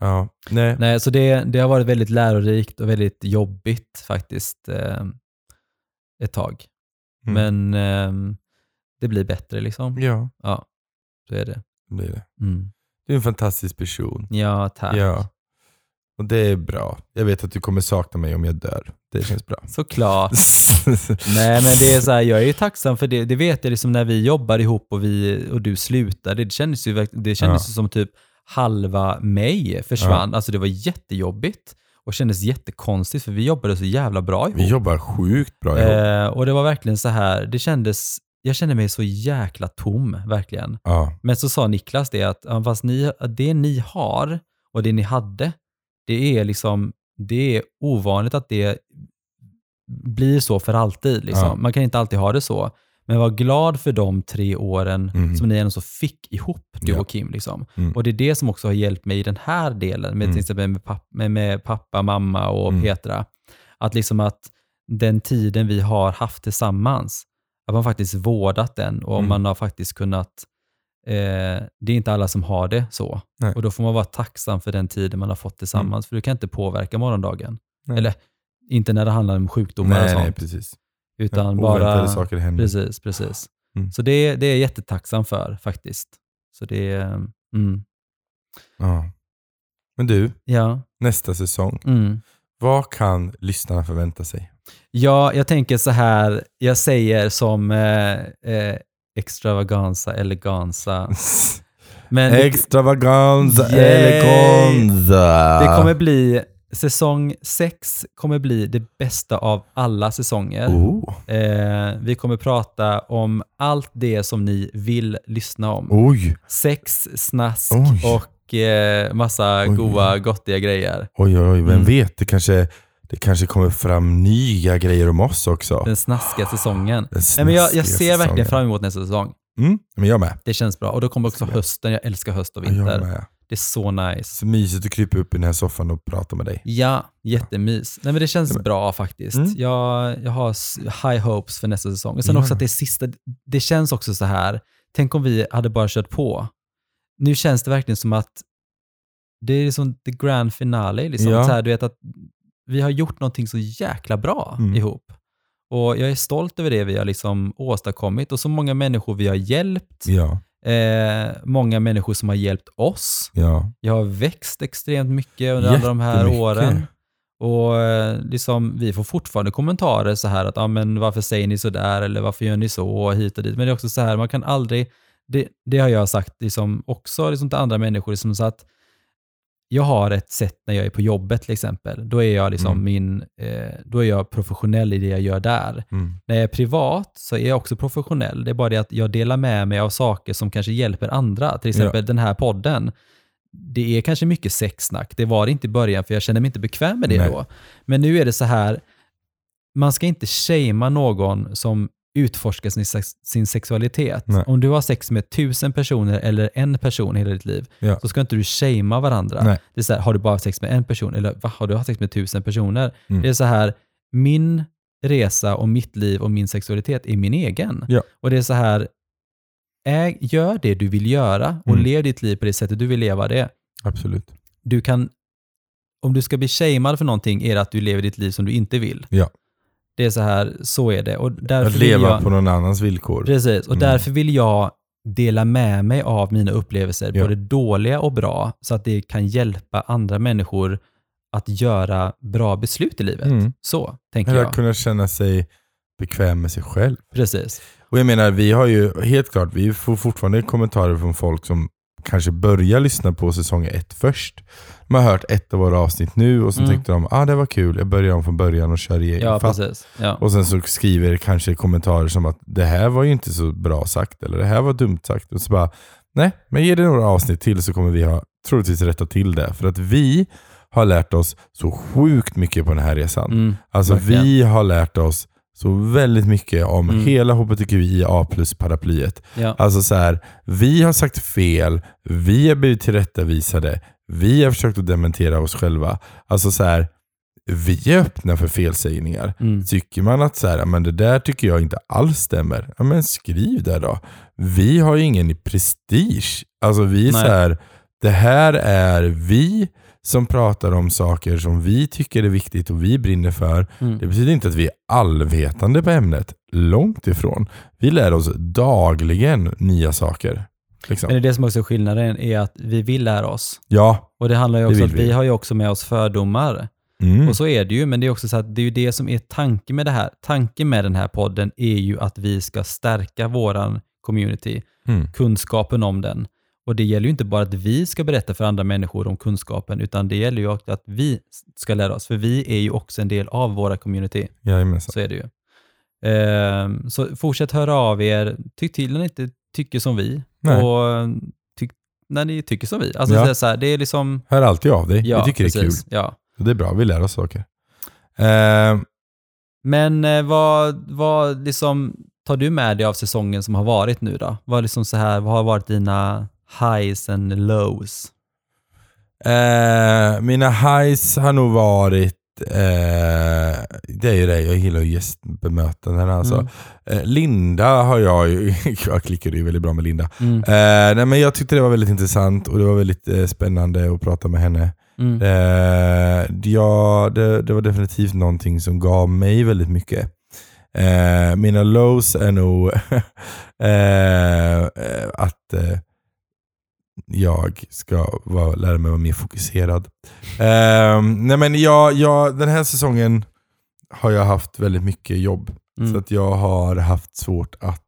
Speaker 1: Ja, nej.
Speaker 2: Nej, så det, det har varit väldigt lärorikt och väldigt jobbigt faktiskt eh, ett tag.
Speaker 1: Mm.
Speaker 2: Men eh, det blir bättre liksom.
Speaker 1: Ja,
Speaker 2: Ja, så är det.
Speaker 1: det blir det.
Speaker 2: Mm.
Speaker 1: Du är en fantastisk person.
Speaker 2: Ja, tack.
Speaker 1: Ja. Och det är bra. Jag vet att du kommer sakna mig om jag dör. Det känns bra.
Speaker 2: Såklart. Nej, men det är så här, jag är ju tacksam för det. Det vet jag liksom när vi jobbar ihop och, vi, och du slutade. Det kändes ju verk- det kändes ju som typ halva mig försvann. Alltså det var jättejobbigt och kändes jättekonstigt för vi jobbade så jävla bra
Speaker 1: Vi
Speaker 2: ihop.
Speaker 1: jobbar sjukt bra ihop.
Speaker 2: Eh, och det var verkligen så här, det kändes, jag kände mig så jäkla tom verkligen.
Speaker 1: ja.
Speaker 2: Men så sa Niklas det att ja, fast ni, att det ni har och det ni hade, det är liksom det är ovanligt att det blir så för alltid. Liksom.
Speaker 1: Ja.
Speaker 2: Man kan inte alltid ha det så. Men var glad för de tre åren
Speaker 1: Mm.
Speaker 2: som ni ändå så fick ihop, du
Speaker 1: Ja.
Speaker 2: och Kim. Liksom.
Speaker 1: Mm.
Speaker 2: Och det är det som också har hjälpt mig i den här delen, med,
Speaker 1: Mm.
Speaker 2: till exempel med, papp, med, med pappa, mamma och
Speaker 1: Mm.
Speaker 2: Petra. Att, liksom att den tiden vi har haft tillsammans, att man faktiskt vårdat den och
Speaker 1: Mm.
Speaker 2: man har faktiskt kunnat Eh, det är inte alla som har det så.
Speaker 1: Nej. Mm.
Speaker 2: Och då får man vara tacksam för den tiden man har fått tillsammans, för du kan inte påverka morgondagen.
Speaker 1: Nej.
Speaker 2: Eller inte när det handlar om sjukdomar och
Speaker 1: nej,
Speaker 2: sånt,
Speaker 1: nej, precis.
Speaker 2: utan
Speaker 1: Oväntade
Speaker 2: bara...
Speaker 1: saker händer.
Speaker 2: Precis, precis.
Speaker 1: Mm.
Speaker 2: Så det, det är jag jättetacksam för faktiskt. Så det är... Mm,
Speaker 1: Ja. Men du,
Speaker 2: ja.
Speaker 1: nästa säsong.
Speaker 2: Mm.
Speaker 1: Vad kan lyssnarna förvänta sig?
Speaker 2: ja, jag tänker så här, jag säger som eh, eh, extravaganza, eleganza. Men det,
Speaker 1: Extravaganza,
Speaker 2: Yay!
Speaker 1: eleganza.
Speaker 2: det
Speaker 1: Ah.
Speaker 2: kommer bli... Säsong sex kommer bli det bästa av alla säsonger.
Speaker 1: Oh.
Speaker 2: Eh, vi kommer prata om allt det som ni vill lyssna om.
Speaker 1: Oj,
Speaker 2: Sex, snask
Speaker 1: Oh. Oj.
Speaker 2: och eh, massa
Speaker 1: Oj.
Speaker 2: goda, gottiga grejer.
Speaker 1: oj, oj, vem
Speaker 2: Mm.
Speaker 1: vet? Det kanske, det kanske kommer fram nya grejer om oss också.
Speaker 2: Den snaskiga säsongen.
Speaker 1: Ah. Den
Speaker 2: Nej, men jag, jag
Speaker 1: snaskiga
Speaker 2: ser verkligen
Speaker 1: säsongen.
Speaker 2: fram emot nästa säsong.
Speaker 1: Mm, men jag med.
Speaker 2: Det känns bra. Och då kommer också
Speaker 1: Absolut.
Speaker 2: hösten. Jag älskar höst och
Speaker 1: Jag
Speaker 2: vinter.
Speaker 1: med.
Speaker 2: Det är så nice.
Speaker 1: Så mysigt att krypa upp i den här soffan och prata med dig.
Speaker 2: Ja, jättemys. Nej, men det känns
Speaker 1: Nej, men-
Speaker 2: bra faktiskt.
Speaker 1: Mm.
Speaker 2: Jag, jag har s- high hopes för nästa säsong. Och sen
Speaker 1: Ja.
Speaker 2: också att det är sista, det känns också så här, tänk om vi hade bara kört på. Nu känns det verkligen som att det är som the grand finale. Liksom.
Speaker 1: Ja.
Speaker 2: Så här, du vet att vi har gjort någonting så jäkla bra
Speaker 1: Mm.
Speaker 2: ihop. Och jag är stolt över det vi har liksom åstadkommit och så många människor vi har hjälpt.
Speaker 1: Ja,
Speaker 2: Eh, många människor som har hjälpt oss.
Speaker 1: ja.
Speaker 2: Jag har växt extremt mycket under alla de här
Speaker 1: Jättemycket.
Speaker 2: åren. Och eh, liksom, vi får fortfarande kommentarer så här att ah, men varför säger ni så där eller varför gör ni så och hit och dit. Men det är också så här, man kan aldrig, det, det har jag sagt liksom också liksom till andra människor, liksom så att jag har ett sätt när jag är på jobbet till exempel. Då är jag, liksom
Speaker 1: Mm.
Speaker 2: min, eh, då är jag professionell i det jag gör där.
Speaker 1: Mm.
Speaker 2: När jag är privat så är jag också professionell. Det är bara det att jag delar med mig av saker som kanske hjälper andra. Till exempel den här podden. Det är kanske mycket sexsnack. Det var det inte i början för jag kände mig inte bekväm med det
Speaker 1: Nej.
Speaker 2: då. Men nu är det så här, man ska inte shamea någon som utforskar sin, sex, sin sexualitet.
Speaker 1: Nej.
Speaker 2: Om du har sex med tusen personer eller en person hela ditt liv
Speaker 1: Ja.
Speaker 2: så ska inte du shamea varandra.
Speaker 1: Nej.
Speaker 2: Det är så här, har du bara haft sex med en person? Eller va, har du haft sex med tusen personer?
Speaker 1: Mm.
Speaker 2: Det är så här, min resa och mitt liv och min sexualitet är min egen.
Speaker 1: Ja.
Speaker 2: Och det är så här, äg, gör det du vill göra och
Speaker 1: Mm.
Speaker 2: lev ditt liv på det sättet du vill leva det.
Speaker 1: Absolut.
Speaker 2: Du kan, om du ska bli shamead för någonting är det att du lever ditt liv som du inte vill.
Speaker 1: Ja.
Speaker 2: Det är så här, så är det. Och därför
Speaker 1: Att
Speaker 2: vill
Speaker 1: leva
Speaker 2: jag,
Speaker 1: på någon annans villkor.
Speaker 2: Precis, och
Speaker 1: Mm.
Speaker 2: därför vill jag dela med mig av mina upplevelser,
Speaker 1: Ja.
Speaker 2: både dåliga och bra, så att det kan hjälpa andra människor att göra bra beslut i livet.
Speaker 1: Mm.
Speaker 2: Så tänker
Speaker 1: Eller att
Speaker 2: jag.
Speaker 1: kunna känna sig bekväm med sig själv.
Speaker 2: Precis.
Speaker 1: Och jag menar, vi har ju helt klart, vi får fortfarande kommentarer från folk som kanske börjar lyssna på säsong ett först. De har hört ett av våra avsnitt nu och så
Speaker 2: Mm.
Speaker 1: tänkte de, ah det var kul, jag börjar om från början och kör igen.
Speaker 2: Ja,
Speaker 1: Fast-
Speaker 2: precis. Ja.
Speaker 1: och sen så skriver kanske kommentarer som att det här var ju inte så bra sagt eller det här var dumt sagt. Och så bara, nej, men ge det några avsnitt till så kommer vi ha troligtvis rätta till det. För att vi har lärt oss så sjukt mycket på den här resan.
Speaker 2: Mm.
Speaker 1: Alltså
Speaker 2: Verkligen.
Speaker 1: vi har lärt oss så väldigt mycket om
Speaker 2: Mm.
Speaker 1: hela hbtqia paraplyet.
Speaker 2: Ja.
Speaker 1: Alltså så här, vi har sagt fel, vi har blivit tillrättavisade, vi har försökt att dementera oss själva. Alltså så här, vi är öppna för felsägningar.
Speaker 2: Mm.
Speaker 1: Tycker man att så här, "Ja, men det där tycker jag inte alls stämmer, ja, men skriv det då. Vi har ju ingen i prestige. Alltså vi är
Speaker 2: Nej.
Speaker 1: så här, det här är vi som pratar om saker som vi tycker är viktigt och vi brinner för.
Speaker 2: Mm.
Speaker 1: Det betyder inte att vi är allvetande på ämnet. Långt ifrån. Vi lär oss dagligen nya saker.
Speaker 2: Men det
Speaker 1: Liksom.
Speaker 2: är det som också är skillnaden, är att vi vill lära oss.
Speaker 1: Ja.
Speaker 2: Och det handlar ju
Speaker 1: Det
Speaker 2: också om
Speaker 1: vill
Speaker 2: att vi.
Speaker 1: vi.
Speaker 2: har ju också med oss fördomar.
Speaker 1: Mm.
Speaker 2: Och så är det ju, men det är också så att det är ju det som är tanken med det här. Tanken med den här podden är ju att vi ska stärka våran community,
Speaker 1: Mm.
Speaker 2: kunskapen om den. Och det gäller ju inte bara att vi ska berätta för andra människor om kunskapen, utan det gäller ju också att vi ska lära oss, för vi är ju också en del av våra community.
Speaker 1: Jajamensan.
Speaker 2: Så är det ju. Ehm, så fortsätt höra av er. Tyck till när ni inte tycker som vi.
Speaker 1: Nej.
Speaker 2: Och tyck, när ni tycker som vi. Alltså
Speaker 1: Ja.
Speaker 2: det, är så här, det är liksom...
Speaker 1: Hör alltid av dig.
Speaker 2: Ja,
Speaker 1: vi tycker det är kul.
Speaker 2: precis. Ja.
Speaker 1: Och Det är bra, vi lär oss saker. Eh,
Speaker 2: Men eh, vad, vad liksom tar du med dig av säsongen som har varit nu då? Vad, liksom så här, vad har varit dina highs and lows?
Speaker 1: Eh, mina highs har nog varit eh, det är ju det, jag gillar ju gästbemötanden alltså.
Speaker 2: Mm.
Speaker 1: Eh, Linda har jag ju, jag klickade ju väldigt bra med Linda.
Speaker 2: Mm.
Speaker 1: Eh, nej, men jag tyckte det var väldigt intressant och det var väldigt eh, spännande att prata med henne.
Speaker 2: Mm.
Speaker 1: Eh, ja, det, det var definitivt någonting som gav mig väldigt mycket. Eh, mina lows är nog eh, eh, att eh, jag ska vara, lära mig vara mer fokuserad. Eh, nej men jag, jag, den här säsongen har jag haft väldigt mycket jobb.
Speaker 2: Mm.
Speaker 1: Så att jag har haft svårt att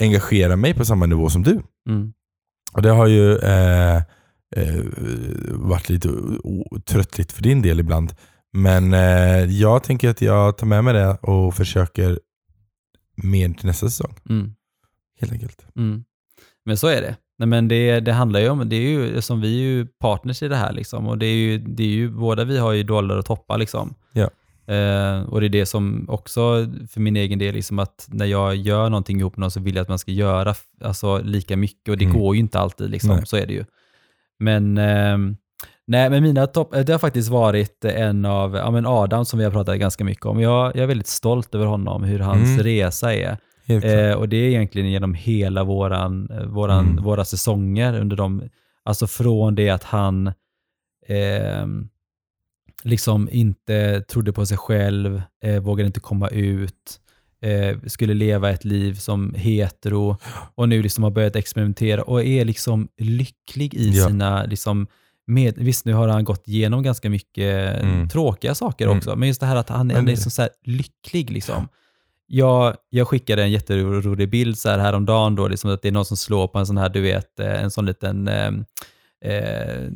Speaker 1: engagera mig på samma nivå som du.
Speaker 2: Mm.
Speaker 1: Och det har ju eh, eh, varit lite o- o- tröttligt för din del ibland. Men eh, jag tänker att jag tar med mig det och försöker mer till nästa säsong.
Speaker 2: Mm.
Speaker 1: Helt enkelt.
Speaker 2: Mm. Men så är det. Nej, men det, det handlar ju om, det är ju som vi är ju partners i det här liksom och det är ju, det är ju båda vi har ju dålar och toppar liksom.
Speaker 1: Ja.
Speaker 2: Eh, och det är det som också för min egen del, liksom att när jag gör någonting ihop med någon så vill jag att man ska göra f- alltså, lika mycket och det
Speaker 1: Mm.
Speaker 2: går ju inte alltid liksom,
Speaker 1: Nej.
Speaker 2: så är det ju. Men, ehm, nej, men mina topp, eh, det har faktiskt varit en av, ja men Adam som vi har pratat ganska mycket om. Jag, jag är väldigt stolt över honom, hur hans
Speaker 1: Mm.
Speaker 2: resa är.
Speaker 1: Helt klart.
Speaker 2: Eh, och det är egentligen genom hela våran, eh, våran,
Speaker 1: Mm.
Speaker 2: våra säsonger. Under de, alltså från det att han ehm, liksom inte trodde på sig själv, eh, vågade inte komma ut, eh, skulle leva ett liv som hetero och nu liksom har börjat experimentera och är liksom lycklig i
Speaker 1: Ja.
Speaker 2: sina liksom, med, visst, nu har han gått igenom ganska mycket
Speaker 1: Mm.
Speaker 2: tråkiga saker
Speaker 1: Mm.
Speaker 2: också, men just det här att han är
Speaker 1: Men det-
Speaker 2: liksom så här lycklig. Liksom. Jag, jag skickade en jätterolig bild så här häromdagen, då, liksom att det är någon som slår på en sån här, du vet, eh, en sån liten eh, eh,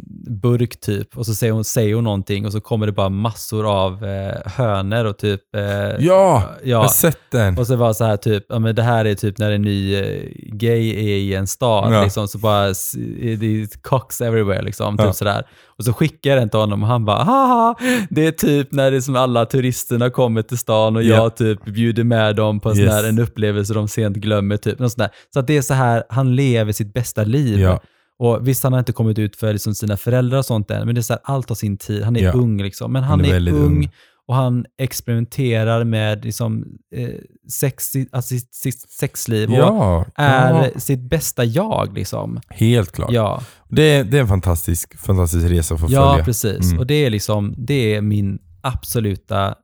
Speaker 2: burk typ. Och så säger hon, säger hon någonting och så kommer det bara massor av eh, hönor och typ... Eh,
Speaker 1: ja, jag har
Speaker 2: ja.
Speaker 1: sett den.
Speaker 2: Och så var det så här typ, ja men det här är typ när en ny eh, gay är i en stad,
Speaker 1: Ja.
Speaker 2: liksom, så bara, s- är det är cocks everywhere liksom,
Speaker 1: Ja.
Speaker 2: typ sådär. Och så skickar jag den till honom och han bara, haha, det är typ när det är som alla turisterna kommer till stan och
Speaker 1: Ja.
Speaker 2: jag typ bjuder med dem på en sån
Speaker 1: Yes.
Speaker 2: här, en upplevelse de sent glömmer typ. Något sånt där. Så att det är så här, han lever sitt bästa liv.
Speaker 1: Ja.
Speaker 2: Och visst, han har inte kommit ut för liksom sina föräldrar och sånt än, men det är så här, allt har sin tid. Han är
Speaker 1: Ja.
Speaker 2: ung liksom. Men han,
Speaker 1: Han är
Speaker 2: är,
Speaker 1: väldigt
Speaker 2: ung,
Speaker 1: ung.
Speaker 2: och han experimenterar med liksom, eh, sex, alltså sitt, sitt sexliv och
Speaker 1: ja,
Speaker 2: är
Speaker 1: ja,
Speaker 2: sitt bästa jag. Liksom.
Speaker 1: helt klart.
Speaker 2: Ja,
Speaker 1: Det, är, det är en fantastisk, fantastisk resa att få
Speaker 2: ja
Speaker 1: följa.
Speaker 2: precis.
Speaker 1: Mm.
Speaker 2: Och det är, liksom, det är min absoluta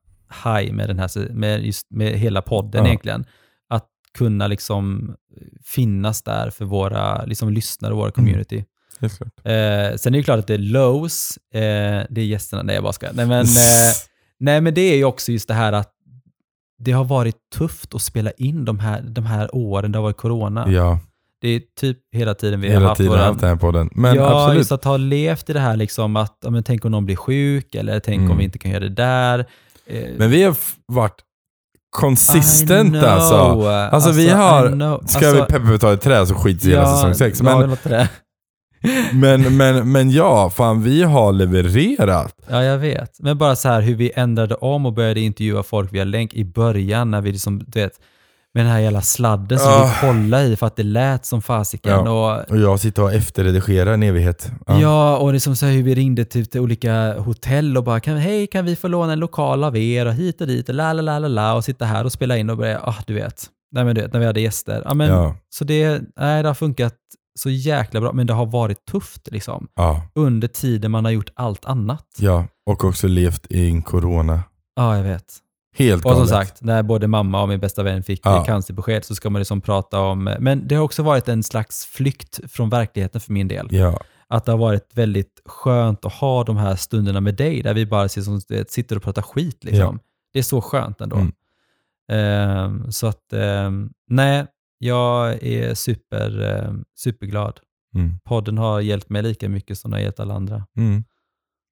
Speaker 2: high med, den här, se- med, just, med hela podden
Speaker 1: Ja.
Speaker 2: egentligen. Att kunna liksom finnas där för våra liksom, lyssnare och våra community.
Speaker 1: Mm. Helt klart.
Speaker 2: Eh, sen är det ju klart att det är lows. Eh, det är gästerna. Nej, jag bara skojar. Nej, men, eh, nej, men det är ju också just det här att det har varit tufft att spela in de här, de här åren. Det har varit corona.
Speaker 1: ja,
Speaker 2: Det är typ hela tiden vi har
Speaker 1: hela
Speaker 2: haft
Speaker 1: tiden har jag
Speaker 2: våra...
Speaker 1: haft den här podden. Men
Speaker 2: ja,
Speaker 1: absolut.
Speaker 2: just att ha levt i det här liksom att ja, men tänk om någon blir sjuk eller tänk om
Speaker 1: Mm.
Speaker 2: vi inte kan göra det där. Eh,
Speaker 1: Men vi har f- varit
Speaker 2: I
Speaker 1: konsistenta
Speaker 2: know.
Speaker 1: alltså. Alltså, vi
Speaker 2: I
Speaker 1: har-
Speaker 2: know. Alltså,
Speaker 1: Ska vi peppa ta ett träd så skiter vi i hela säsong 6.
Speaker 2: ja,
Speaker 1: Men,
Speaker 2: det låter det.
Speaker 1: Men, men, men ja, fan vi har levererat.
Speaker 2: Ja, jag vet. Men bara så här hur vi ändrade om och började intervjua folk via länk i början när vi liksom, du vet, med den här jävla sladden som vi
Speaker 1: Ah.
Speaker 2: fick hålla i för att det lät som fasiken. Och,
Speaker 1: Och jag sitter och efterredigerar en evighet.
Speaker 2: ja. och liksom så här hur vi ringde typ till olika hotell och bara, kan, hej, kan vi få låna en lokal av er och hit och dit och la la la la la och sitta här och spela in och börja, ah, du vet. Nej, men du vet, när vi hade gäster. Ja, men,
Speaker 1: ja.
Speaker 2: Så det, nej, det har funkat så jäkla bra, men det har varit tufft liksom
Speaker 1: ja,
Speaker 2: under tiden man har gjort allt annat.
Speaker 1: ja. Och också levt i en corona.
Speaker 2: Ja, jag vet.
Speaker 1: Helt
Speaker 2: Och
Speaker 1: galet.
Speaker 2: som sagt, när både mamma och min bästa vän fick
Speaker 1: Ja.
Speaker 2: ja. cancerbesked så ska man liksom prata om, men det har också varit en slags flykt från verkligheten för min del.
Speaker 1: Ja,
Speaker 2: Att det har varit väldigt skönt att ha de här stunderna med dig där vi bara ser som, sitter och pratar skit. Liksom. Det är så skönt ändå.
Speaker 1: Mm.
Speaker 2: Ehm, så att, ehm, nej, jag är super, ehm, superglad.
Speaker 1: mm.
Speaker 2: Podden har hjälpt mig lika mycket som den har hjälpt alla andra.
Speaker 1: Mm.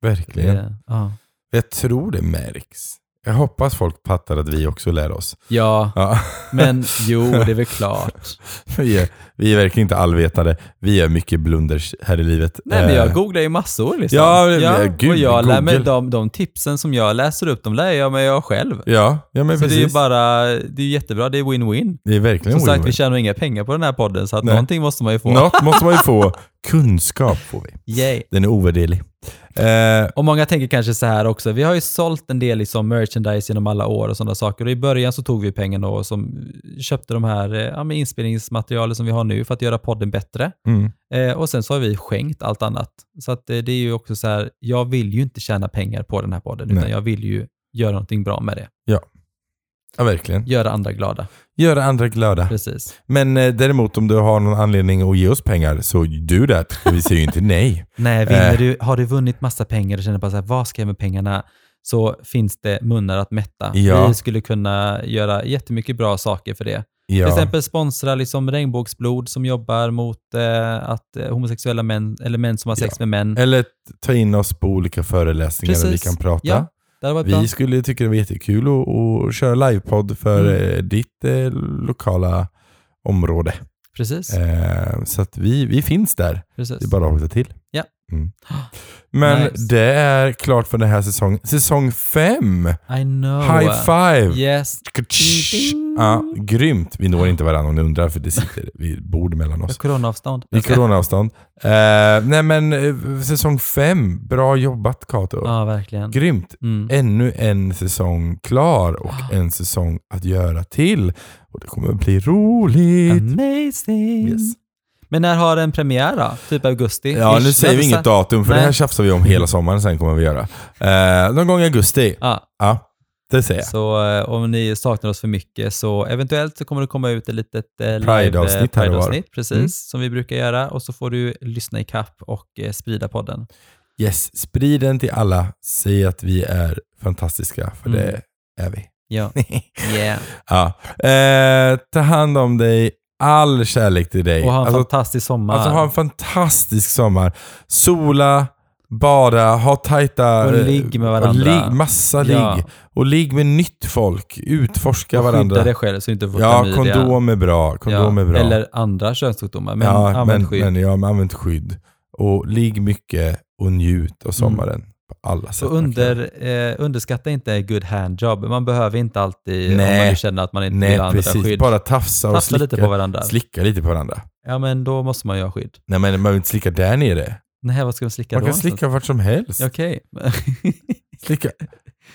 Speaker 1: verkligen.
Speaker 2: Det- ja.
Speaker 1: Jag tror det märks. Jag hoppas folk fattar att vi också lär oss.
Speaker 2: Ja,
Speaker 1: Ja.
Speaker 2: men jo, det är väl klart.
Speaker 1: Vi, är, vi är verkligen inte allvetande. Vi gör mycket blunders här i livet.
Speaker 2: Nej, men jag
Speaker 1: Eh,
Speaker 2: googlar ju massor liksom.
Speaker 1: Ja, men- gud,
Speaker 2: och jag lär mig
Speaker 1: Google.
Speaker 2: de, de tipsen som jag läser upp, de lär jag mig jag själv.
Speaker 1: Ja, ja men
Speaker 2: så
Speaker 1: precis.
Speaker 2: det är ju bara, det är jättebra, det är win-win.
Speaker 1: det är verkligen
Speaker 2: Som sagt,
Speaker 1: win-win.
Speaker 2: vi tjänar inga pengar på den här podden, så att
Speaker 1: Nej.
Speaker 2: någonting måste man ju få.
Speaker 1: Något måste man ju få. Kunskap får vi.
Speaker 2: Yay.
Speaker 1: Den är ovärderlig. Eh,
Speaker 2: Och många tänker kanske så här också, vi har ju sålt en del liksom merchandise genom alla år och sådana saker. Och I början så tog vi pengarna och som köpte de här eh, ja, med inspelningsmaterialen som vi har nu för att göra podden bättre.
Speaker 1: mm.
Speaker 2: Eh, och sen så har vi skänkt allt annat. Så att, eh, det är ju också så här, jag vill ju inte tjäna pengar på den här podden, utan
Speaker 1: Nej.
Speaker 2: jag vill ju göra någonting bra med det.
Speaker 1: Ja, verkligen.
Speaker 2: Göra andra glada.
Speaker 1: Göra andra glada.
Speaker 2: Precis.
Speaker 1: Men eh, däremot om du har någon anledning att ge oss pengar så do that. För Vi säger ju inte nej.
Speaker 2: Nej, vinner
Speaker 1: Eh.
Speaker 2: du, har du vunnit massa pengar och känner bara så här, vad ska jag med pengarna? Så finns det munnar att mätta.
Speaker 1: Ja.
Speaker 2: Vi skulle kunna göra jättemycket bra saker för det.
Speaker 1: Ja.
Speaker 2: Till exempel sponsra liksom Regnbågsblod som jobbar mot eh, att eh, homosexuella män, eller män som har sex med män.
Speaker 1: Eller ta in oss på olika föreläsningar där vi
Speaker 2: Precis.
Speaker 1: kan prata.
Speaker 2: Ja, Det hade varit bra.
Speaker 1: Vi skulle tycka det var jättekul att, att köra livepodd för
Speaker 2: Mm.
Speaker 1: eh, ditt eh, lokala område.
Speaker 2: Precis.
Speaker 1: Eh, så att vi, vi finns där. Det
Speaker 2: precis.
Speaker 1: är bara att hojta till.
Speaker 2: Ja.
Speaker 1: Mm. Men
Speaker 2: Nice.
Speaker 1: det är klart för den här säsongen. Säsong fem!
Speaker 2: I know.
Speaker 1: High five!
Speaker 2: Yes.
Speaker 1: Ktsch.
Speaker 2: Ding, ding.
Speaker 1: Ja, grymt. Vi når inte varandra om ni undrar för det sitter vid bord mellan oss.
Speaker 2: Coronaavstånd.
Speaker 1: I coronaavstånd. Eh, nej men eh, säsong fem. Bra jobbat Kato.
Speaker 2: Ja, verkligen.
Speaker 1: Grymt.
Speaker 2: Mm.
Speaker 1: Ännu en säsong klar och en säsong att göra till. Och det kommer att bli roligt.
Speaker 2: Amazing.
Speaker 1: Yes.
Speaker 2: Men när har den premiär då? Typ augusti?
Speaker 1: Ja,
Speaker 2: Ish,
Speaker 1: nu säger vi
Speaker 2: väl?
Speaker 1: inget datum för
Speaker 2: Nej.
Speaker 1: det här tjafsar vi om hela sommaren sen kommer vi göra. Eh, någon gång i augusti.
Speaker 2: Ja,
Speaker 1: Ja, det säger jag.
Speaker 2: så eh, om ni saknar oss för mycket så eventuellt så kommer det komma ut ett litet eh,
Speaker 1: Pride-avsnitt
Speaker 2: live, eh,
Speaker 1: här och var.
Speaker 2: Pride-avsnitt, precis,
Speaker 1: Mm.
Speaker 2: som vi brukar göra och så får du lyssna i kapp och eh, sprida podden.
Speaker 1: Yes, sprid den till alla. Säg att vi är fantastiska, för
Speaker 2: Mm.
Speaker 1: det är vi.
Speaker 2: Ja, yeah.
Speaker 1: ja. eh, ta hand om dig. All kärlek till dig.
Speaker 2: och ha en
Speaker 1: Alltså,
Speaker 2: fantastisk sommar.
Speaker 1: Alltså ha en fantastisk sommar. Sola, bada, ha tajta...
Speaker 2: Och
Speaker 1: eh,
Speaker 2: ligg med
Speaker 1: och
Speaker 2: varandra.
Speaker 1: ligg, massa ligg.
Speaker 2: Ja.
Speaker 1: Och ligg med nytt folk. Utforska
Speaker 2: och skydda
Speaker 1: varandra.
Speaker 2: dig själv så du inte får
Speaker 1: Ja,
Speaker 2: klamydia.
Speaker 1: kondom är bra. Kondom är bra.
Speaker 2: Eller andra könssjukdomar, men
Speaker 1: ja,
Speaker 2: använd
Speaker 1: men,
Speaker 2: skydd.
Speaker 1: Men, ja, men använd skydd. Och ligg mycket och njut av sommaren på alla sätt.
Speaker 2: Så
Speaker 1: man kan.
Speaker 2: Mm. under, eh, underskatta inte good handjob. Man behöver inte alltid, om
Speaker 1: Nej.
Speaker 2: man nu känner att man inte
Speaker 1: Nej,
Speaker 2: vill använda
Speaker 1: precis.
Speaker 2: skydd,
Speaker 1: Bara tafsa och
Speaker 2: tafsa
Speaker 1: slicka
Speaker 2: lite på varandra.
Speaker 1: Slicka lite på varandra.
Speaker 2: Ja, men då måste man ju ha skydd.
Speaker 1: Nej, men man vill inte slicka där nere.
Speaker 2: Nej, vad ska man slicka
Speaker 1: Man
Speaker 2: då?
Speaker 1: kan slicka vart som helst.
Speaker 2: Okej.
Speaker 1: Slicka.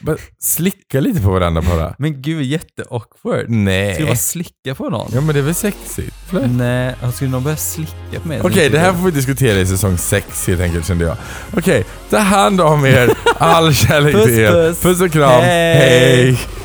Speaker 1: Bara slicka lite på varandra bara.
Speaker 2: men gud, jätte-awkward. Ska du bara
Speaker 1: Nej.
Speaker 2: slicka på någon?
Speaker 1: Ja, men det är väl sexigt? Eller?
Speaker 2: Nej, och skulle någon börja slicka på mig?
Speaker 1: Okej, det här får vi diskutera i säsong 6 helt enkelt kände jag. Okej, ta hand om er. All kärlek
Speaker 2: Puss,
Speaker 1: till er.
Speaker 2: puss.
Speaker 1: Puss och kram.
Speaker 2: Hej.
Speaker 1: Hej.